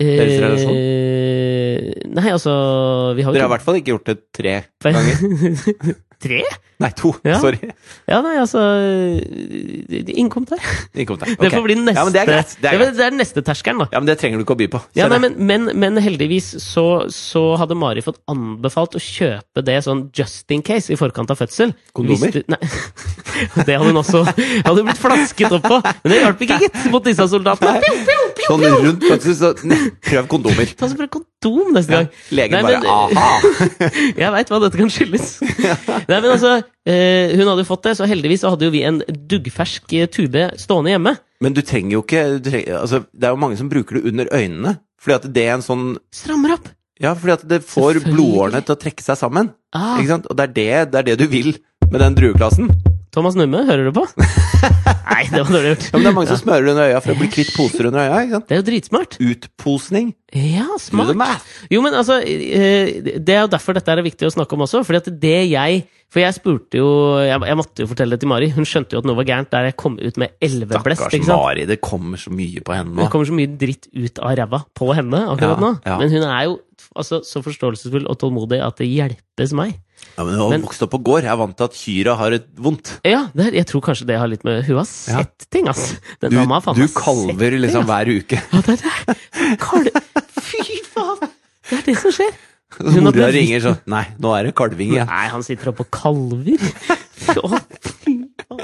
S1: Deres relasjon?
S2: Eh, Nei, altså vi har
S1: Dere har i
S2: jo
S1: hvert fall ikke gjort det tre
S2: Hver-
S1: ganger.
S2: Tre?
S1: Nei, to.
S2: Ja.
S1: Sorry.
S2: Ja, nei, altså eh, Innkom der.
S1: Ikke kom til.
S2: Det
S1: Ok.
S2: får bli neste
S1: Ja, men det er greit. Det er,
S2: men
S1: greit.
S2: det er neste terskelen, da.
S1: Ja, men det trenger du ikke å by på.
S2: Ja, nei,
S1: Kjenner jeg.
S2: men, men, men heldigvis så, så hadde Mari fått anbefalt å kjøpe det sånn just in case i forkant av fødsel.
S1: Kondomer?
S2: Hvis du- nei. Det hadde hun også hadde blitt flasket opp på. Men det hjalp ikke, gitt, mot disse soldatene. Pew, pew, pew.
S1: Sånn rundt fødsel, så ne, prøv kondomer.
S2: Ta så bruk Altså, kondom neste
S1: Ja.
S2: gang.
S1: Legen
S2: Nei,
S1: bare
S2: men-
S1: aha!
S2: Jeg veit hva dette kan skyldes. Nei, men altså, eh, Hun hadde jo fått det, så heldigvis så hadde jo vi en duggfersk eh, tube stående hjemme.
S1: Men du trenger jo ikke du trenger, altså, Det er jo mange som bruker det under øynene. Fordi at det er en sånn
S2: Strammer opp!
S1: Ja, fordi at det får
S2: Selvfølgelig.
S1: blodårene til å trekke seg sammen.
S2: Ah,
S1: Ikke sant? Og det er det, det er det du vil med den drueklassen. Ja,
S2: Thomas Numme, hører du på? Nei, det var dårlig gjort.
S1: men det er mange som smører under øya for å bli kvitt poser under øya. Ikke sant?
S2: Det er jo dritsmart.
S1: Utposning.
S2: Ja,
S1: Do the
S2: smart.
S1: math.
S2: Jo, men altså, eh, det er jo derfor dette er viktig å snakke om også. Fordi at det jeg For jeg spurte jo jeg, jeg måtte jo fortelle det til Mari. Hun skjønte jo at noe var gærent der jeg kom ut med elveblest.
S1: Stakkars
S2: ikke sant?
S1: Mari, det kommer så mye på henne
S2: Det
S1: nå.
S2: kommer så mye dritt ut av ræva på henne akkurat
S1: Ja,
S2: nå.
S1: ja.
S2: Men hun er jo altså, så forståelsesfull og tålmodig at det hjelpes meg.
S1: Ja, men hun har
S2: Men-
S1: vokst opp på gård. Jeg er vant til at kyrne har et vondt.
S2: Ja, det, er- jeg tror kanskje det har litt med Hun har sett ting, ass! Den
S1: Du,
S2: dama har faen
S1: du
S2: meg sett altså.
S1: kalver
S2: ting,
S1: liksom
S2: ass.
S1: hver uke.
S2: Ja, det er det! Kalve. Fy faen! Det er det som skjer. Hun har
S1: Mora
S2: blitt-
S1: ringer sånn Nei, nå er det kalving igjen.
S2: Nei, han sitter oppe og kalver. Å, fy faen.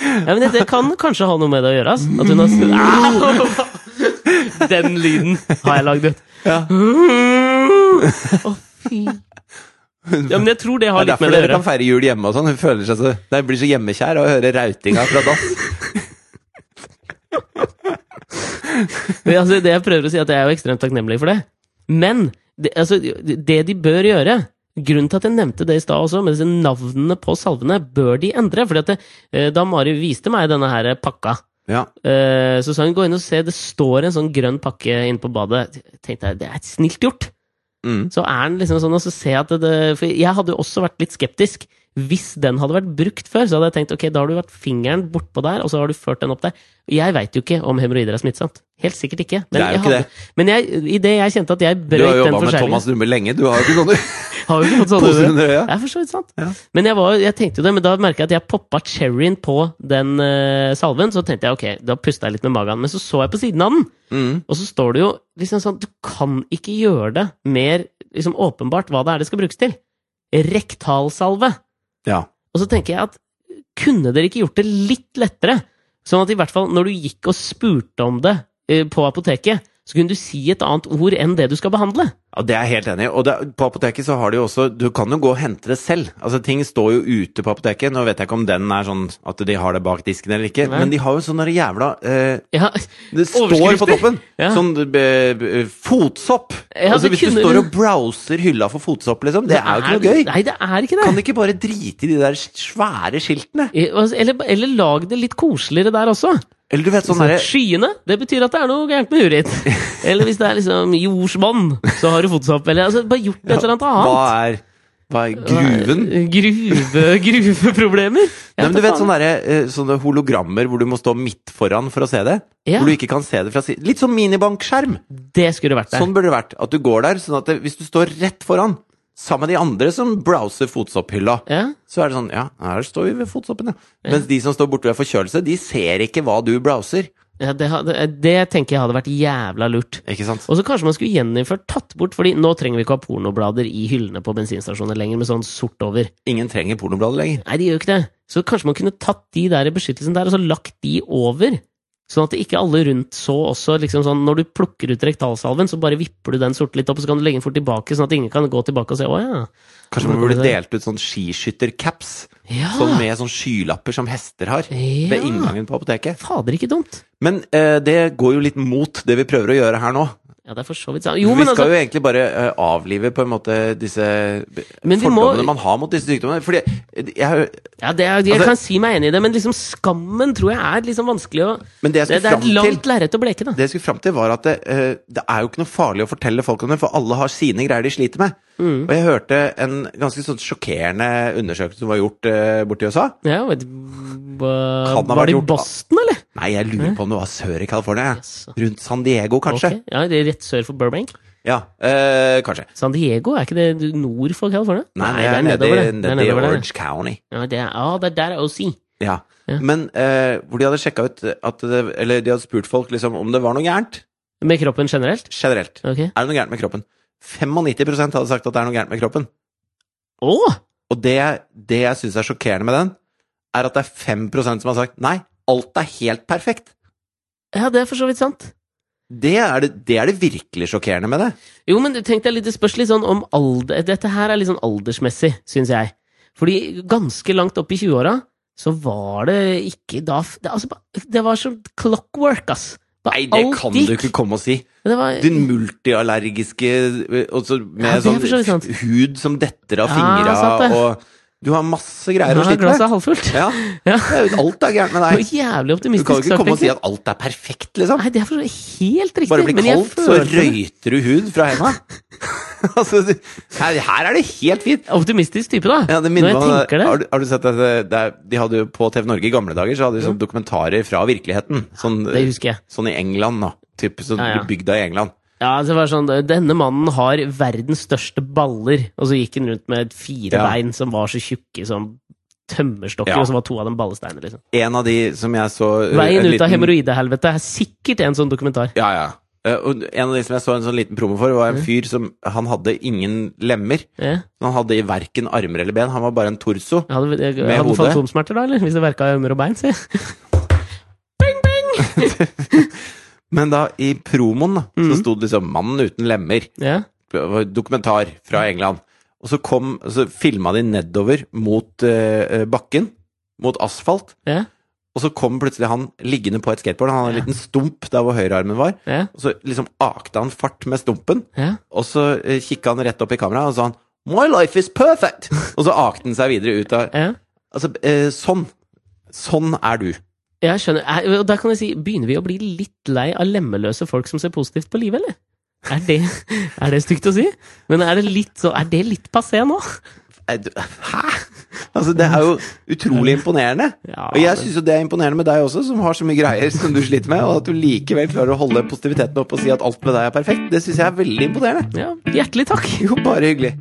S2: Ja, men det, det kan kanskje ha noe med det å gjøre. ass. At hun har Au! Den lyden har jeg lagd ut.
S1: Ja.
S2: Å, fy Ja, men jeg tror det
S1: Det
S2: har
S1: er
S2: litt
S1: derfor
S2: med det å
S1: dere
S2: gjøre.
S1: kan feire jul hjemme og sånn. Hun føler seg så Nei, blir så hjemmekjær av å høre rautinga fra dass.
S2: Men, altså, det jeg prøver å si, er at jeg er jo ekstremt takknemlig for det. Men det, altså, det de bør gjøre Grunnen til at jeg nevnte det i stad også, med disse navnene på salvene, bør de endre. Fordi at det, eh, da Mari viste meg denne her pakka,
S1: Ja.
S2: Eh, Så sa hun gå inn og se, det står en sånn grønn pakke inne på badet. Tenkte jeg, det er snilt gjort!
S1: Mm.
S2: Så er den liksom sånn, og så ser jeg at det- det For jeg hadde jo også vært litt skeptisk. Hvis den hadde vært brukt før, så hadde jeg tenkt ok, da har du vært fingeren bortpå der, og så har du ført den opp der. Jeg veit jo ikke om hemoroider er smittsomt. Helt sikkert ikke. Men,
S1: Det er jo
S2: jeg
S1: ikke
S2: hadde,
S1: det.
S2: men jeg, i det jeg kjente at jeg
S1: Du har
S2: brøyt den
S1: jobba med
S2: forskjellen
S1: Thomas Numme lenge. Du har jo ikke sånne
S2: Har jo ikke fått sånne
S1: poser under øya.
S2: det er for så vidt sant.
S1: Ja.
S2: Men jeg, var, jeg tenkte jo det, men da merka jeg at jeg poppa cherryen på den eh, salven. Så tenkte jeg ok, da pusta jeg litt med magen. Men så så jeg på siden av den,
S1: Mm.
S2: og så står det jo liksom sånn Du kan ikke gjøre det mer liksom, åpenbart hva det er det skal brukes til. Rektalsalve.
S1: Ja.
S2: Og så tenker jeg at kunne dere ikke gjort det litt lettere? Sånn at i hvert fall når du gikk og spurte om det eh, på apoteket, så kunne du si et annet ord enn det du skal behandle.
S1: Ja, Det er jeg helt enig i. Og det, på apoteket så har de jo også Du kan jo gå og hente det selv. Altså Ting står jo ute på apoteket. Nå vet jeg ikke om den er sånn at de har det bak disken eller ikke,
S2: Nei.
S1: men de har jo sånne jævla eh,
S2: Ja,
S1: Det står på
S2: Overskrifter.
S1: toppen!
S2: Ja.
S1: Sånn eh, eh, fotsopp!
S2: Ja,
S1: altså
S2: det
S1: Hvis du
S2: kunne-
S1: står og browser hylla for fotsopp, liksom, det er jo ikke noe gøy!
S2: Nei, det er ikke det.
S1: Kan de ikke bare drite i de der svære skiltene?
S2: Eh, altså, Eller, eller lag det litt koseligere der også.
S1: Eller du vet sånn derre
S2: Skyene, det betyr at det er noe gærent med huet ditt. Eller hvis det er liksom jordsmonn, så har du fotsopp. Eller altså, bare gjort et eller annet
S1: Hva
S2: annet.
S1: er, hva er gruven?
S2: Gruve, gruveproblemer.
S1: Nei, men du vet
S2: faen.
S1: sånne, derre, eh, sånne hologrammer hvor du må stå midt foran for å se det?
S2: Ja.
S1: Hvor du ikke kan se det fra siden? Litt sånn minibankskjerm!
S2: Det skulle vært der.
S1: Sånn burde det vært. At du går der, sånn at det, hvis du står rett foran, sammen med de andre som browser fotsopphylla,
S2: Ja.
S1: så er det sånn Ja, her står vi ved fotsoppen, ja. Mens de som står borte ved forkjølelse, de ser ikke hva du browser.
S2: Ja, det, ha- det- det tenker jeg hadde vært jævla lurt.
S1: Ikke sant?
S2: Og så kanskje man skulle gjeninnført tatt bort, fordi nå trenger vi ikke ha pornoblader i hyllene på bensinstasjoner lenger med sånn sort over.
S1: Ingen trenger pornobladet lenger.
S2: Nei, de gjør jo ikke det. Så kanskje man kunne tatt de der i beskyttelsen der, og så lagt de over. Sånn at ikke alle rundt så også liksom sånn, Når du plukker ut rektalsalven, så bare vipper du den sorte litt opp, og så kan du legge den fort tilbake, sånn at ingen kan gå tilbake og se 'Å ja'.
S1: Kanskje man burde delt ut sånn skiskyttercaps,
S2: Ja!
S1: sånn med sånn skylapper som hester har, ved
S2: Ah. ja.
S1: inngangen på apoteket.
S2: Fader, ikke dumt.
S1: Men eh, det går jo litt mot det vi prøver å gjøre her nå.
S2: Ja, det er for så vidt sant. Jo,
S1: vi
S2: men
S1: skal
S2: altså
S1: jo egentlig bare eh, avlive på en måte disse b-
S2: Men vi må-
S1: fordommene man har mot disse sykdommene. Fordi eh, jeg,
S2: ja, det er, Jeg
S1: Altså-
S2: kan si meg enig i det, men liksom skammen tror jeg er liksom vanskelig å
S1: men det jeg
S2: Det,
S1: skulle
S2: det er et
S1: Altså, fram til
S2: langt lerret å bleke, da.
S1: det jeg skulle fram til var at det, eh, det er jo ikke noe farlig å fortelle folk om det, for alle har sine greier de sliter med.
S2: Mm.
S1: Og jeg hørte en ganske sånn sjokkerende undersøkelse som var gjort eh, borti USA.
S2: Ja, vet,
S1: Kan
S2: var,
S1: ha vært
S2: var det i
S1: gjort-
S2: Boston, eller?
S1: Nei, jeg lurer på om det var sør i California. ja.
S2: Yes.
S1: Rundt San Diego, kanskje.
S2: Ok, Ja, det er rett sør for Burbank.
S1: Ja, eh, kanskje.
S2: San Diego, er ikke det nord for California?
S1: Nei, det er nede
S2: nedover
S1: i-
S2: det. Det er
S1: nede i
S2: nedover der.
S1: Orange County.
S2: Ja, det er, ah, det er der OC.
S1: Ja.
S2: Ja.
S1: Men eh, hvor de hadde sjekka ut at det, Eller de hadde spurt folk liksom om det var noe gærent.
S2: Med kroppen generelt?
S1: Generelt.
S2: Ok.
S1: Er det noe gærent med kroppen? 95 hadde sagt at det er noe gærent med kroppen.
S2: Å!
S1: Og det, det jeg syns er sjokkerende med den, er at det er 5 som har sagt nei, alt er helt perfekt.
S2: Ja, det er for så vidt sant.
S1: Det er det, det, er det virkelig sjokkerende med det.
S2: Jo, men tenk deg litt, det spørs litt sånn om alder Dette her er litt sånn aldersmessig, syns jeg. Fordi ganske langt opp i 20-åra så var det ikke da f- det, altså, ba- det var som clockwork, ass. Bare
S1: Nei, det
S2: alt
S1: kan du
S2: gikk.
S1: ikke komme og si.
S2: Det var,
S1: Din multiallergiske ø, også Med
S2: Ja, det er for så vidt
S1: sånn
S2: sant.
S1: hud som detter av
S2: Ja,
S1: fingra
S2: sant det.
S1: og Du har masse greier
S2: ja,
S1: å slite
S2: glasset
S1: med.
S2: er halvfullt.
S1: Ja.
S2: Ja.
S1: det er- Alt er gærent med
S2: Det var
S1: deg.
S2: jævlig
S1: Du kan
S2: optimistisk
S1: jo ikke
S2: sagt,
S1: komme og si
S2: egentlig.
S1: at alt er perfekt, liksom.
S2: Nei, det er for så helt riktig.
S1: Bare blir
S2: men jeg
S1: kaldt, så
S2: følte det.
S1: røyter du hud fra henda. altså, du- her, her er det helt fint.
S2: Optimistisk type, da.
S1: Ja, det
S2: Når
S1: minner
S2: jeg
S1: meg om-
S2: tenker det.
S1: Har, du- har du sett at det, det er, de hadde jo På TV Norge i gamle dager så hadde de sånne dokumentarer fra virkeligheten. Sånn,
S2: Det husker jeg.
S1: sånn i England, da. Typ, sånn,
S2: Ja, ja.
S1: Bygda i England.
S2: Ja, det var sånn, Denne mannen har verdens største baller, og så gikk han rundt med fire
S1: Ja.
S2: bein som var så tjukke som tømmerstokker,
S1: Ja.
S2: og så var to av dem ballesteiner. liksom.
S1: En av de som jeg så uh,
S2: Veien
S1: en
S2: ut av
S1: liten-
S2: hemoroidehelvete er sikkert en sånn dokumentar.
S1: Ja, ja. Eh, og en av de som jeg så en sånn liten promo for,
S2: Mhm.
S1: var en fyr som Han hadde ingen lemmer.
S2: Ja.
S1: Han hadde i verken armer eller ben. Han var bare en torso.
S2: Jeg hadde, jeg,
S1: Med
S2: hadde han
S1: hodet?
S2: fantomsmerter, da? eller? Hvis det verka i armer og bein? Se.
S1: Men da, i promoen, da, så sto det liksom 'Mannen uten lemmer'.
S2: Ja.
S1: Det var en Dokumentar fra England. Og så kom Så filma de nedover mot eh, eh, bakken. Mot asfalt.
S2: Ja.
S1: Og så kom plutselig han liggende på et skateboard. Han hadde en liten stump der hvor høyrearmen var.
S2: Ja.
S1: Og så liksom akte han fart med stumpen.
S2: Ja.
S1: Og så eh, kikka han rett opp i kameraet og sa han, 'My life is perfect'! Og så akte han seg videre ut av
S2: ja.
S1: Altså, eh, sånn. Sånn er du.
S2: Jeg skjønner. Er- Og da kan jeg si, begynner vi å bli litt lei av lemmeløse folk som ser positivt på livet, eller? Er det, er det stygt å si? Men er det litt, så, er det litt passé nå?
S1: Er du- Hæ?! Altså, det er jo utrolig imponerende.
S2: Ja,
S1: Og jeg
S2: men-
S1: syns jo det er imponerende med deg også, som har så mye greier som du sliter med, og at du likevel klarer å holde positiviteten oppe og si at alt med deg er perfekt. Det syns jeg er veldig imponerende.
S2: Ja, hjertelig takk!
S1: Jo, bare hyggelig.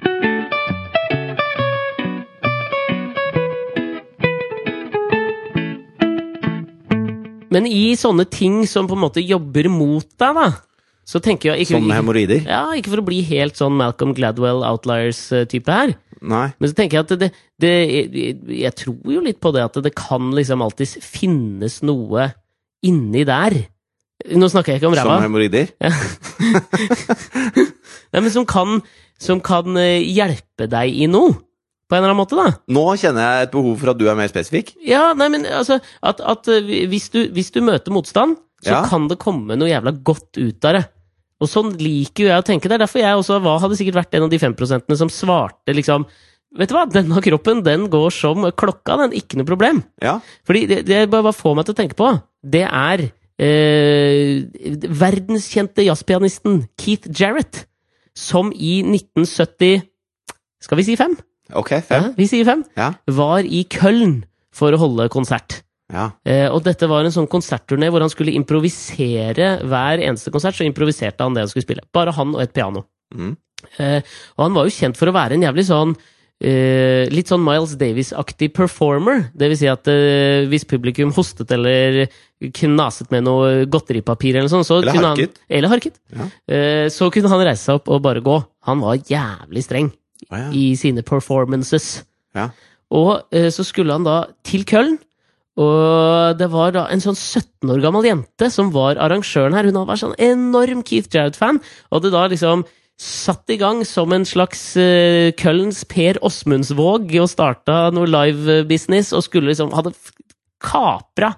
S2: Men i sånne ting som på en måte jobber mot deg, da, så tenker jeg ikke,
S1: Sånne
S2: ikke,
S1: hemoroider?
S2: ja, ikke for å bli helt sånn Malcolm Gladwell Outliers-type her,
S1: Nei.
S2: men så tenker jeg at det, det Jeg tror jo litt på det at det kan liksom alltid finnes noe inni der. Nå snakker jeg ikke om ræva.
S1: Sånne hemoroider?
S2: Nei, men som kan, som kan eh, hjelpe deg i noe. På en eller annen måte, da.
S1: Nå kjenner jeg et behov for at du er mer spesifikk.
S2: Ja, nei, men altså At, at eh, hvis, du, hvis du møter motstand, så
S1: Ja.
S2: kan det komme noe jævla godt ut av det. Og sånn liker jo jeg å tenke. Det er derfor jeg også var, hadde sikkert vært en av de 5 som svarte liksom Vet du hva, denne kroppen den går som klokka, den. Ikke noe problem.
S1: Ja.
S2: Fordi det, det bare, bare får meg til å tenke på, det er eh, verdenskjente jazzpianisten Keith Jarrett, som i 1970 Skal vi si fem?
S1: Ok, fem.
S2: Ja, vi sier fem.
S1: Ja.
S2: Var i Køln for å holde konsert.
S1: Ja.
S2: Eh, og dette var en sånn konsertturné hvor han skulle improvisere hver eneste konsert. Så improviserte han det han skulle spille. Bare han og et piano.
S1: Mm.
S2: Eh, og han var jo kjent for å være en jævlig sånn eh, litt sånn Miles Davis-aktig performer. Det vil si at eh, hvis publikum hostet eller knaset med noe godteripapir eller sånn, så
S1: Eller
S2: kunne
S1: harket.
S2: han Eller harket.
S1: Ja.
S2: Eh, så kunne han reise seg opp og bare gå. Han var jævlig streng
S1: Å, ja.
S2: i sine performances.
S1: Ja.
S2: Og eh, så skulle han da til Køln. Og det var da en sånn 17 år gammel jente som var arrangøren her. Hun var sånn enorm Keith Jarrett-fan, og hadde da liksom satt i gang som en slags eh, Kølns Per Åsmundsvåg og starta noe live-business og skulle liksom Hadde f- kapra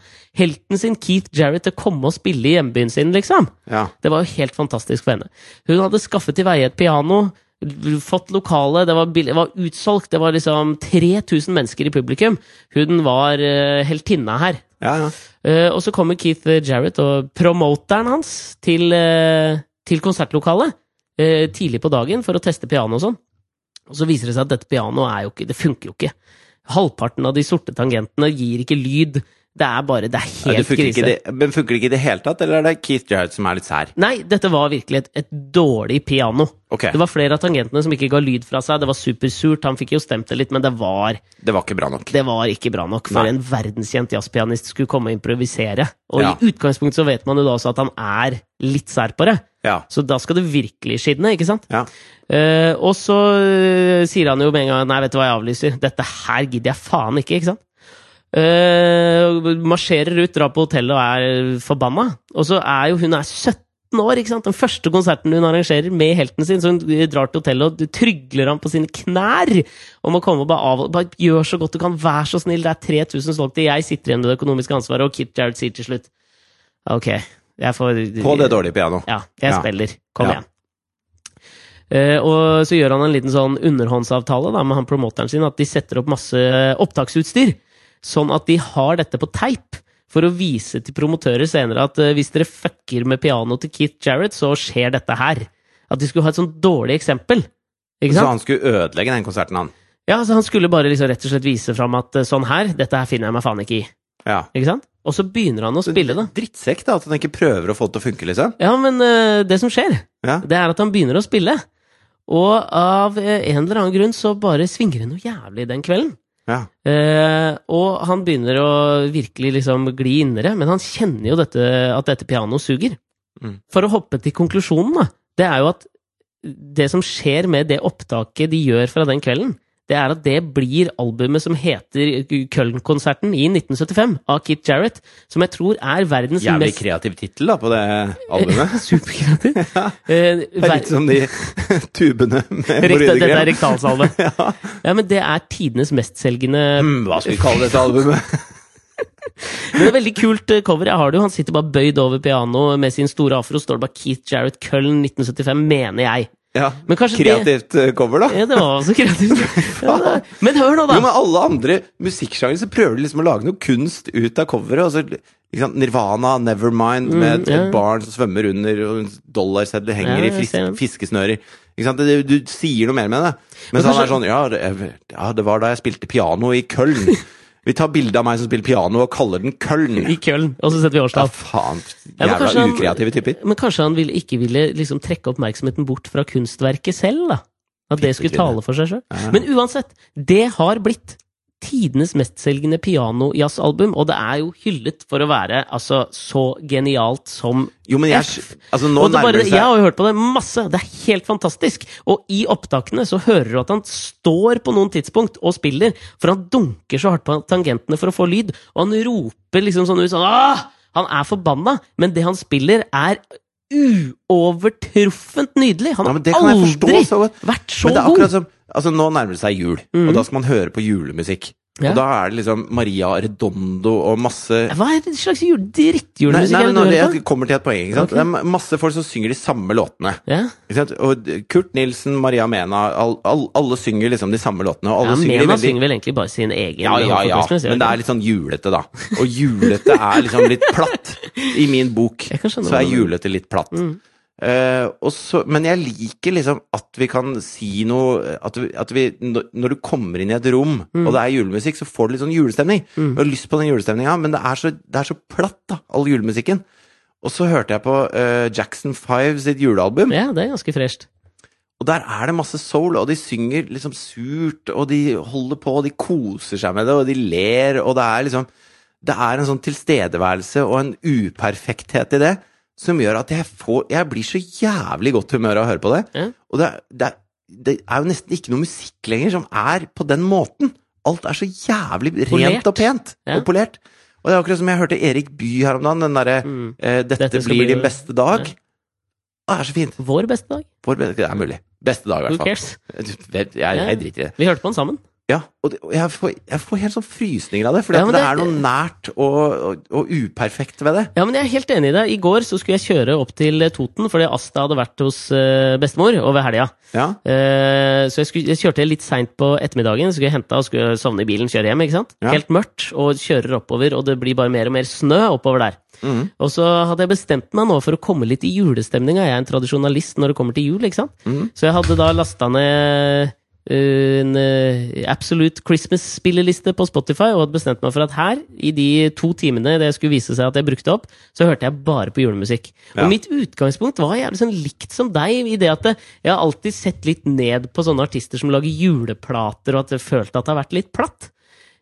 S2: helten sin Keith Jarrett til å komme og spille i hjembyen sin, liksom.
S1: ja.
S2: Det var jo helt fantastisk for henne. Hun hadde skaffet til veie et piano, l- fått lokale, det var, bill- det var utsolgt, det var liksom 3000 mennesker i publikum. Hun var eh, heltinna her.
S1: ja, ja.
S2: Eh, og så kommer Keith Jarrett og promoteren hans til, eh, til konsertlokalet eh, tidlig på dagen for å teste piano og sånn. Og så viser det seg at dette pianoet er jo ikke, det funker jo ikke. Halvparten av de sorte tangentene gir ikke lyd. Det er bare, det er
S1: Nei, det
S2: helt
S1: funker ikke i
S2: krise.
S1: det, men funker det ikke i det hele tatt, eller er det Keith Jarrett som er litt sær?
S2: Nei, dette var virkelig et, et dårlig piano.
S1: Ok,
S2: Det var flere av tangentene som ikke ga lyd fra seg. Det var supersurt. Han fikk jo stemt det litt, men det var,
S1: det var ikke bra nok.
S2: det var ikke bra nok for
S1: Nei.
S2: en verdenskjent jazzpianist skulle komme og improvisere. Og
S1: Ja.
S2: i utgangspunktet så vet man jo da også at han er litt sær på det.
S1: Ja.
S2: Så da skal det virkelig skinne, ikke sant?
S1: ja.
S2: Eh, og så eh, sier han jo med en gang Nei, vet du hva jeg avlyser? Dette her gidder jeg faen ikke, ikke sant? Eh, marsjerer ut, drar på hotellet og er forbanna. Og så er jo hun er 17 år, ikke sant? Den første konserten hun arrangerer med helten sin. Så hun drar til hotellet og trygler ham på sine knær om å komme og bare, av, bare gjør så godt du kan, vær så snill, det er 3000 solgte, jeg sitter igjen med det økonomiske ansvaret, og Kit Jarrett sier til slutt Ok, jeg får
S1: På det dårlige pianoet.
S2: ja, jeg
S1: Ja.
S2: spiller. Kom
S1: Ja.
S2: igjen. Eh, og så gjør han en liten sånn underhåndsavtale da, med han promoteren sin, at de setter opp masse opptaksutstyr, sånn at de har dette på teip, for å vise til promotører senere at eh, hvis dere fucker med pianoet til Keith Jarrett, så skjer dette her. At de skulle ha et sånn dårlig eksempel. Ikke
S1: Så
S2: sant?
S1: han skulle ødelegge den konserten, han.
S2: Ja, så Han skulle bare liksom rett og slett vise fram at eh, sånn her, dette her finner jeg meg faen ikke i.
S1: Ja.
S2: Ikke sant? Og så begynner han å spille, da.
S1: Drittsekk, da, at han ikke prøver å få det til å funke, liksom.
S2: Ja, men eh, det som skjer,
S1: Ja.
S2: det er at han begynner å spille. Og av eh, en eller annen grunn så bare svinger det noe jævlig den kvelden.
S1: Ja.
S2: Eh, og han begynner å virkelig liksom gli innere, men han kjenner jo dette, at dette pianoet suger.
S1: Mm.
S2: For å hoppe til konklusjonen, da, det er jo at det som skjer med det opptaket de gjør fra den kvelden, det er at det blir albumet som heter Köln-konserten i 1975 av Kit Jarrett, som jeg tror er verdens
S1: Jævlig
S2: mest
S1: kreativ tittel, da, på det albumet.
S2: Superkreativ.
S1: Ja,
S2: Eh,
S1: det er
S2: ver-
S1: litt sånn som de tubene med
S2: Riktig, dette er
S1: hemoroidekrem.
S2: rektalsalve.
S1: Ja.
S2: Ja, men det er tidenes mestselgende
S1: Mm, Hva skal vi kalle dette albumet?
S2: Det er veldig kult eh, cover. Jeg har det jo. Han sitter bare bøyd over pianoet med sin store afro. Står det bare Keith Jarrett Cullen 1975, mener jeg.
S1: Ja.
S2: Men kanskje det
S1: Kreativt eh, cover, da.
S2: ja, Det var også kreativt. Ja, det- men hør nå,
S1: Jo,
S2: da!
S1: men alle andre musikksjangere så prøver de liksom å lage noe kunst ut av coveret. og så, ikke sant, Nirvana, Nevermind, med et,
S2: Mm, ja.
S1: et barn som svømmer under, og en dollarsedler henger
S2: Ja,
S1: i
S2: jeg
S1: fris,
S2: ser den.
S1: fiskesnører. Ikke sant? Det, du sier noe mer med det.
S2: Men
S1: Mens han er
S2: kanskje-
S1: sånn ja det, er- ja, det var da jeg spilte piano i Køln. Vi tar bilde av meg som spiller piano, og kaller den Køln.
S2: I Köln. Og så setter vi
S1: Ja,
S2: årstall.
S1: faen.
S2: Ja, men kanskje
S1: Jævla
S2: han-
S1: ukreative typer.
S2: Men kanskje han ville, ikke ville liksom trekke oppmerksomheten bort fra kunstverket selv, da? At det skulle
S1: Pittekvinne.
S2: tale for seg sjøl?
S1: Ja.
S2: Men uansett, det har blitt tidenes mestselgende piano-jazzalbum, og det er jo hyllet for å være altså, så genialt som
S1: Jo, men jeg
S2: F.
S1: Altså, nå
S2: og det
S1: nærmer
S2: bare,
S1: det
S2: Jeg
S1: seg
S2: har jo hørt på det masse, det er helt fantastisk. Og i opptakene så hører du at han står på noen tidspunkt og spiller, for han dunker så hardt på tangentene for å få lyd, og han roper liksom sånn ut sånn Åh! Han er forbanna, men det han spiller, er uovertruffent nydelig. Han
S1: Ja,
S2: har
S1: men det kan jeg
S2: aldri
S1: forstå, så-
S2: vært så
S1: men det er
S2: god!
S1: akkurat som Altså, nå nærmer det seg jul, og da skal man høre på julemusikk.
S2: Mm. Ja.
S1: Og da er det liksom Maria Arredondo og masse
S2: Hva er det slags jule-
S1: Nei,
S2: drittjulemusikk
S1: nei,
S2: er
S1: men
S2: det du
S1: når
S2: hører
S1: jeg
S2: på?
S1: kommer til et poeng, ikke sant?
S2: Ok.
S1: Det er masse folk som synger de samme låtene.
S2: Ja.
S1: Ikke sant? Og Kurt Nilsen, Maria Mena, all, all, alle synger liksom de samme låtene. Og alle synger
S2: Ja,
S1: de
S2: Mena
S1: veldig
S2: synger vel egentlig bare sin egen.
S1: ja, ja,
S2: Johan
S1: ja,
S2: Christmas, gjør
S1: men det
S2: ikke
S1: er litt sånn julete, da. Og julete er liksom litt platt. I min bok
S2: Jeg kan skjønne
S1: så
S2: hva
S1: er
S2: du mener. Mm.
S1: julete litt platt. Eh, og så, men jeg liker liksom at vi kan si noe At, vi, at vi, når når du kommer inn i et rom,
S2: Mm.
S1: og det er julemusikk, så får du litt sånn julestemning. Du har lyst på den julestemninga, men det er, så, det er så platt, da, all julemusikken. Og så hørte jeg på eh, Jackson 5 sitt julealbum.
S2: Ja, det er ganske fresht.
S1: Og der er det masse soul, og de synger liksom surt, og de holder på, og de koser seg med det, og de ler, og det er liksom Det er en sånn tilstedeværelse og en uperfekthet i det som gjør at jeg får Jeg blir så jævlig godt humør av å høre på det.
S2: Ja.
S1: Og det, er- det, er- det er jo nesten ikke noe musikk lenger som er på den måten. Alt er så jævlig rent
S2: Polert.
S1: og pent
S2: Ja.
S1: og polert. Og det er akkurat som jeg hørte Erik By her om dagen, den derre
S2: Mm.
S1: eh, 'Dette,
S2: Dette skal
S1: blir
S2: bli-
S1: din beste dag'.
S2: Ja.
S1: Det er så fint.
S2: Vår beste dag.
S1: Vår beste, det er mulig. Beste dag, i hvert
S2: Who
S1: fall.
S2: cares?
S1: Jeg, jeg driter i det.
S2: Vi hørte på den sammen.
S1: Ja, og det- og jeg får, jeg får helt sånn frysninger av det, for
S2: Ja, men
S1: det,
S2: det-
S1: er noe nært og, og, og uperfekt ved det.
S2: Ja, men jeg er helt enig i deg. I går så skulle jeg kjøre opp til eh, Toten, fordi Asta hadde vært hos eh, bestemor over helga.
S1: Ja,
S2: Eh, så jeg, skulle, jeg kjørte litt seint på ettermiddagen, skulle jeg hente og skulle sovne i bilen, kjøre hjem. ikke sant?
S1: Ja.
S2: Helt mørkt, og kjører oppover, og det blir bare mer og mer snø oppover der.
S1: Mhm.
S2: Og så hadde jeg bestemt meg nå for å komme litt i julestemninga. Jeg er en tradisjonalist når det kommer til jul, ikke sant?
S1: Mhm.
S2: Så jeg hadde da lasta ned eh, en eh, Absolute Christmas-spilleliste på Spotify, og hadde bestemt meg for at her, i de to timene det skulle vise seg at jeg brukte opp, så hørte jeg bare på julemusikk.
S1: Ja.
S2: Og mitt utgangspunkt var jævlig sånn likt som deg, i det at det- jeg har alltid sett litt ned på sånne artister som lager juleplater, og at jeg følte at det har vært litt platt.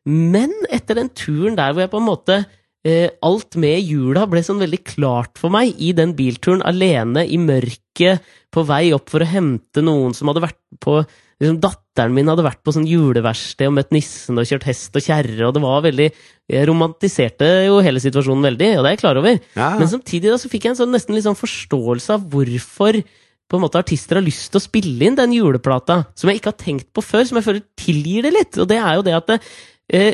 S2: Men etter den turen der hvor jeg på en måte eh, Alt med jula ble sånn veldig klart for meg i den bilturen alene i mørket, på vei opp for å hente noen som hadde vært på liksom Datteren min hadde vært på sånn juleverksted og møtt nissen og kjørt hest og kjerre, og det var veldig Jeg romantiserte jo hele situasjonen veldig, og det er jeg klar over.
S1: Ja,
S2: Men samtidig da, så fikk jeg en sånn, nesten litt sånn forståelse av hvorfor på en måte artister har lyst til å spille inn den juleplata som jeg ikke har tenkt på før, som jeg føler tilgir det litt. Og det er jo det at det, eh,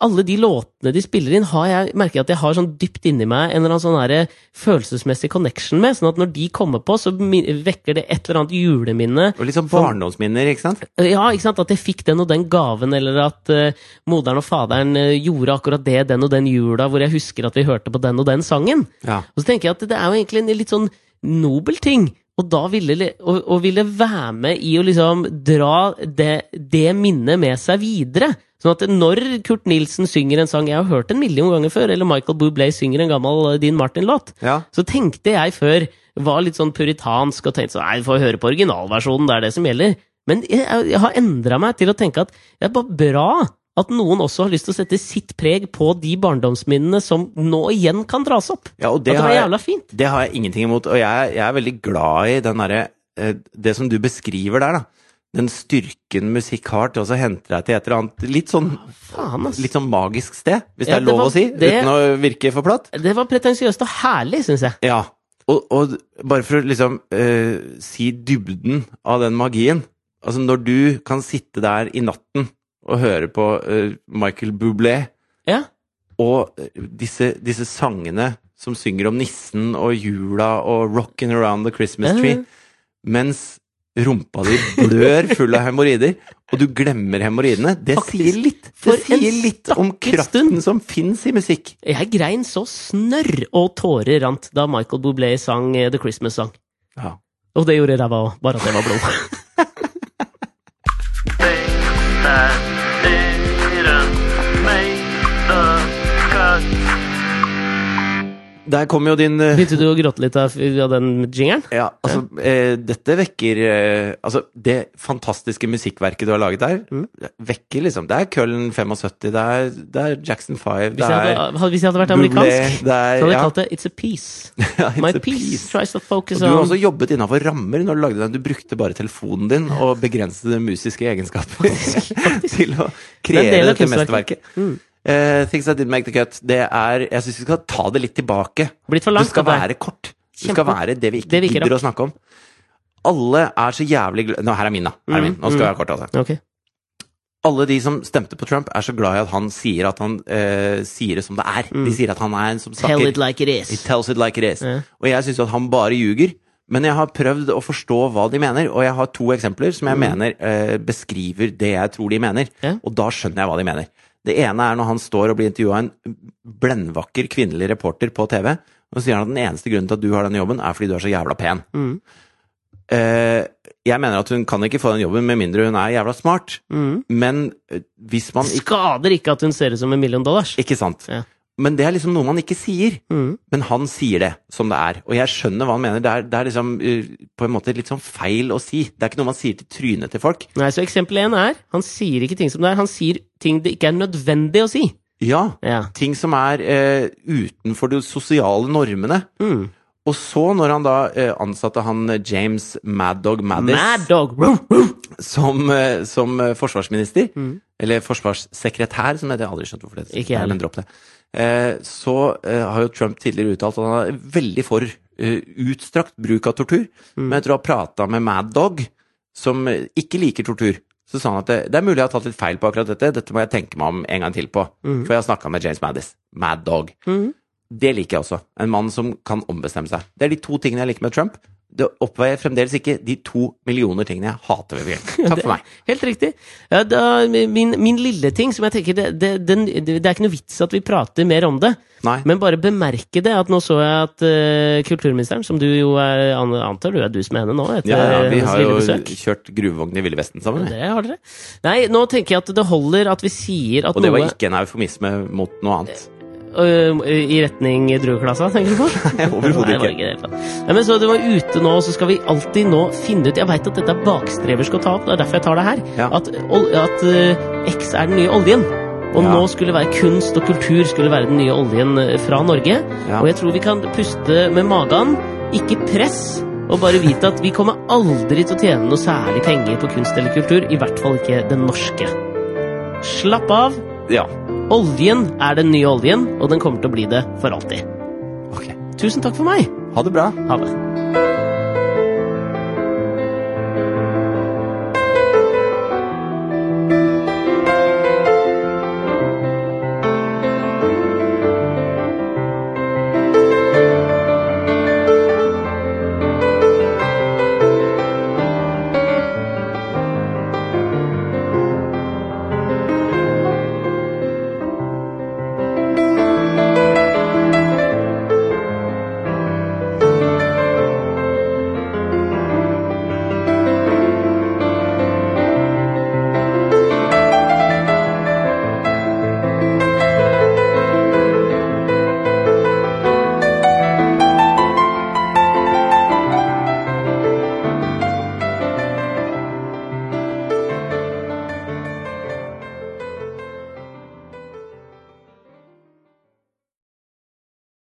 S2: alle de låtene de spiller inn, har jeg, merker jeg at jeg har sånn dypt inni meg en eller annen sånn her, eh, følelsesmessig connection med. Sånn at når de kommer på, så mi- vekker det et eller annet juleminne Eh,
S1: og litt sånn barndomsminner, ikke sant?
S2: ja, ikke sant? At jeg fikk den og den gaven, eller at eh, moderen og faderen eh, gjorde akkurat det den og den jula, hvor jeg husker at vi hørte på den og den sangen.
S1: Ja.
S2: Og så tenker jeg at det er jo egentlig en litt sånn nobel ting. Og da ville, le- og, og ville være med i å liksom dra det, det minnet med seg videre. Sånn at når Kurt Nilsen synger en sang jeg har hørt en million ganger før, eller Michael Bublé synger en gammel eh, Dean Martin-låt,
S1: Ja.
S2: så tenkte jeg før, var litt sånn puritansk og tenkte sånn, nei, vi får høre på originalversjonen, det er det som gjelder. Men jeg, jeg har endra meg til å tenke at det er bare bra at noen også har lyst til å sette sitt preg på de barndomsminnene som nå igjen kan dras opp.
S1: ja og
S2: Det
S1: det
S2: at det
S1: har
S2: var
S1: jeg,
S2: jævla fint.
S1: det har jeg ingenting imot, og jeg, jeg er veldig glad i den derre eh, Det som du beskriver der, da. Den styrken musikk har til å så hente deg til et eller annet litt sånn,
S2: Faen, ass.
S1: litt sånn magisk sted, hvis
S2: Ja,
S1: det er
S2: det
S1: lov
S2: var-
S1: å si,
S2: det-
S1: uten å virke for platt.
S2: Det var pretensiøst og herlig, syns jeg.
S1: Ja, og, og bare for å liksom eh, si dybden av den magien. Altså når du kan sitte der i natten og høre på eh, Michael Bublé
S2: Ja.
S1: og eh, disse, disse sangene som synger om nissen og jula og 'Rockin' Around the Christmas Tree,
S2: Ja.
S1: mens rumpa di blør full av hemoroider, og du glemmer hemoroidene, det
S2: Faktisk.
S1: sier litt,
S2: For
S1: det
S2: en
S1: sier litt om
S2: stakket
S1: kraften
S2: stund.
S1: som fins i musikk.
S2: Jeg grein så snørr og tårer rant da Michael Bublé sang eh, The Christmas Song.
S1: Ja.
S2: Og det gjorde ræva òg, bare at det var blod.
S3: Things that didn't make the cut.
S1: Der kommer jo din eh,
S2: Begynte du å gråte litt av, av den jingeren?
S1: Ja, altså, eh, dette vekker eh, Altså, det fantastiske musikkverket du har laget der,
S2: Mm.
S1: vekker liksom Det er Køllen 75, det er, det er Jackson 5,
S2: Hvis
S1: det
S2: jeg
S1: er
S2: hadde, hadde- hvis jeg hadde vært
S1: Bublé,
S2: amerikansk,
S1: det er-
S2: så hadde jeg
S1: ja.
S2: kalt det It's a piece.
S1: ja, It's
S2: My
S1: a
S2: piece
S1: Piece.
S2: tries to focus
S1: Og du har også
S2: on
S1: jobbet innafor rammer når du lagde den. Du brukte bare telefonen din og begrensede musiske egenskaper til å
S2: Det er en
S1: kreere
S2: del av
S1: dette
S2: kunstverket.
S1: mesterverket.
S2: Hmm.
S1: Eh, things that didn't make the cut. Det er Jeg syns vi skal ta det litt tilbake.
S2: Blitt for langt,
S1: du skal
S2: dette her.
S1: være kort. Du skal
S2: Kjempe-
S1: være det vi ikke
S2: Det vi ikke
S1: gidder å snakke om. Alle er så jævlig glad Nå, her er min, da. Her er min.
S2: Mm.
S1: Nå skal jeg være kort, altså.
S2: Ok.
S1: Alle de som stemte på Trump, er så glad i at han sier at han eh, sier det som det er.
S2: Mm.
S1: De sier at han er en som
S2: Tell it
S1: snakker.
S2: like it
S1: He
S2: is.
S1: tells it like it is.
S2: Ja.
S1: Og jeg syns jo at han bare ljuger. Men jeg har prøvd å forstå hva de mener, og jeg har to eksempler som jeg mener eh, beskriver det jeg tror de mener.
S2: Mm. Ja.
S1: Og da skjønner jeg hva de mener. Det ene er når han står og blir intervjua av en blendvakker kvinnelig reporter på TV, og så sier han at den eneste grunnen til at du har denne jobben, er fordi du er så jævla pen.
S2: Mm.
S1: Eh, jeg mener at hun kan ikke få den jobben med mindre hun er jævla smart.
S2: Mm.
S1: Men eh, hvis man ikke
S2: Skader ikke at hun ser ut som en million dollars.
S1: Ikke sant?
S2: Ja.
S1: Men det er liksom noe man ikke sier.
S2: Mm.
S1: Men han sier det som det er, og jeg skjønner hva han mener. Det er, det er liksom eh, på en måte litt sånn feil å si. Det er ikke noe man sier til trynet til folk.
S2: Nei, så eksempel én er han sier ikke ting som det er, han sier ting det ikke er nødvendig å si.
S1: Ja,
S2: Ja.
S1: ting som er eh, utenfor de sosiale normene.
S2: Mm.
S1: Og så, når han da eh, ansatte han eh, James Mad Dog Maddis
S2: Mad dog! Ruff, ruff.
S1: som, eh, som eh, forsvarsminister,
S2: Mm.
S1: eller forsvarssekretær, som det heter, jeg har aldri skjønt hvorfor det heter
S2: Ikke jeg
S1: sekretær, men dropp det, eh, så eh, har jo Trump tidligere uttalt at han er veldig for eh, utstrakt bruk av tortur,
S2: Mm.
S1: men etter å ha prata med Mad Dog, som eh, ikke liker tortur, så sa han at det, det er mulig jeg har tatt litt feil på akkurat dette, dette må jeg tenke meg om en gang til på,
S2: Mm.
S1: for jeg har snakka med James Maddis, Mad Dog. Det liker jeg også. En mann som kan ombestemme seg. Det er de to tingene jeg liker med Trump. det oppveier fremdeles ikke de to millioner tingene jeg hater ved bjørk. Takk for meg.
S2: Helt riktig. Ja, da, min, min lille ting som jeg tenker det, det, den, det er ikke noe vits at vi prater mer om det,
S1: Nei.
S2: men bare bemerke det. At nå så jeg at eh, kulturministeren, som du jo er, an- antar du er dus med henne nå etter
S1: Ja, ja, vi
S2: hennes
S1: har
S2: lille
S1: jo
S2: eh, besøk.
S1: kjørt gruvevogn i Ville Vesten sammen. vi.
S2: Det har dere. Nei, nå tenker jeg at det holder at vi sier at
S1: Og det var
S2: noe
S1: ikke en eufemisme mot noe annet.
S2: Øh, I retning drueklassa, tenker du på?
S1: Nei, overhodet
S2: Nei, det
S1: ikke.
S2: var det i det hele tatt. Nei, men så Du var ute nå, så skal vi alltid nå finne ut Jeg veit at dette er bakstreversk å ta opp, det er derfor jeg tar det her.
S1: Ja.
S2: At, ol- at øh, X er den nye oljen. Og
S1: Ja.
S2: nå skulle være kunst og kultur skulle være den nye oljen øh, fra Norge.
S1: Ja.
S2: Og jeg tror vi kan puste med magen, ikke press. Og bare vite at vi kommer aldri til å tjene noe særlig penger på kunst eller kultur. I hvert fall ikke den norske. Slapp av.
S1: Ja,
S2: Oljen er den nye oljen, og den kommer til å bli det for alltid.
S1: ok.
S2: Tusen takk for meg!
S1: Ha det bra.
S2: Ha det.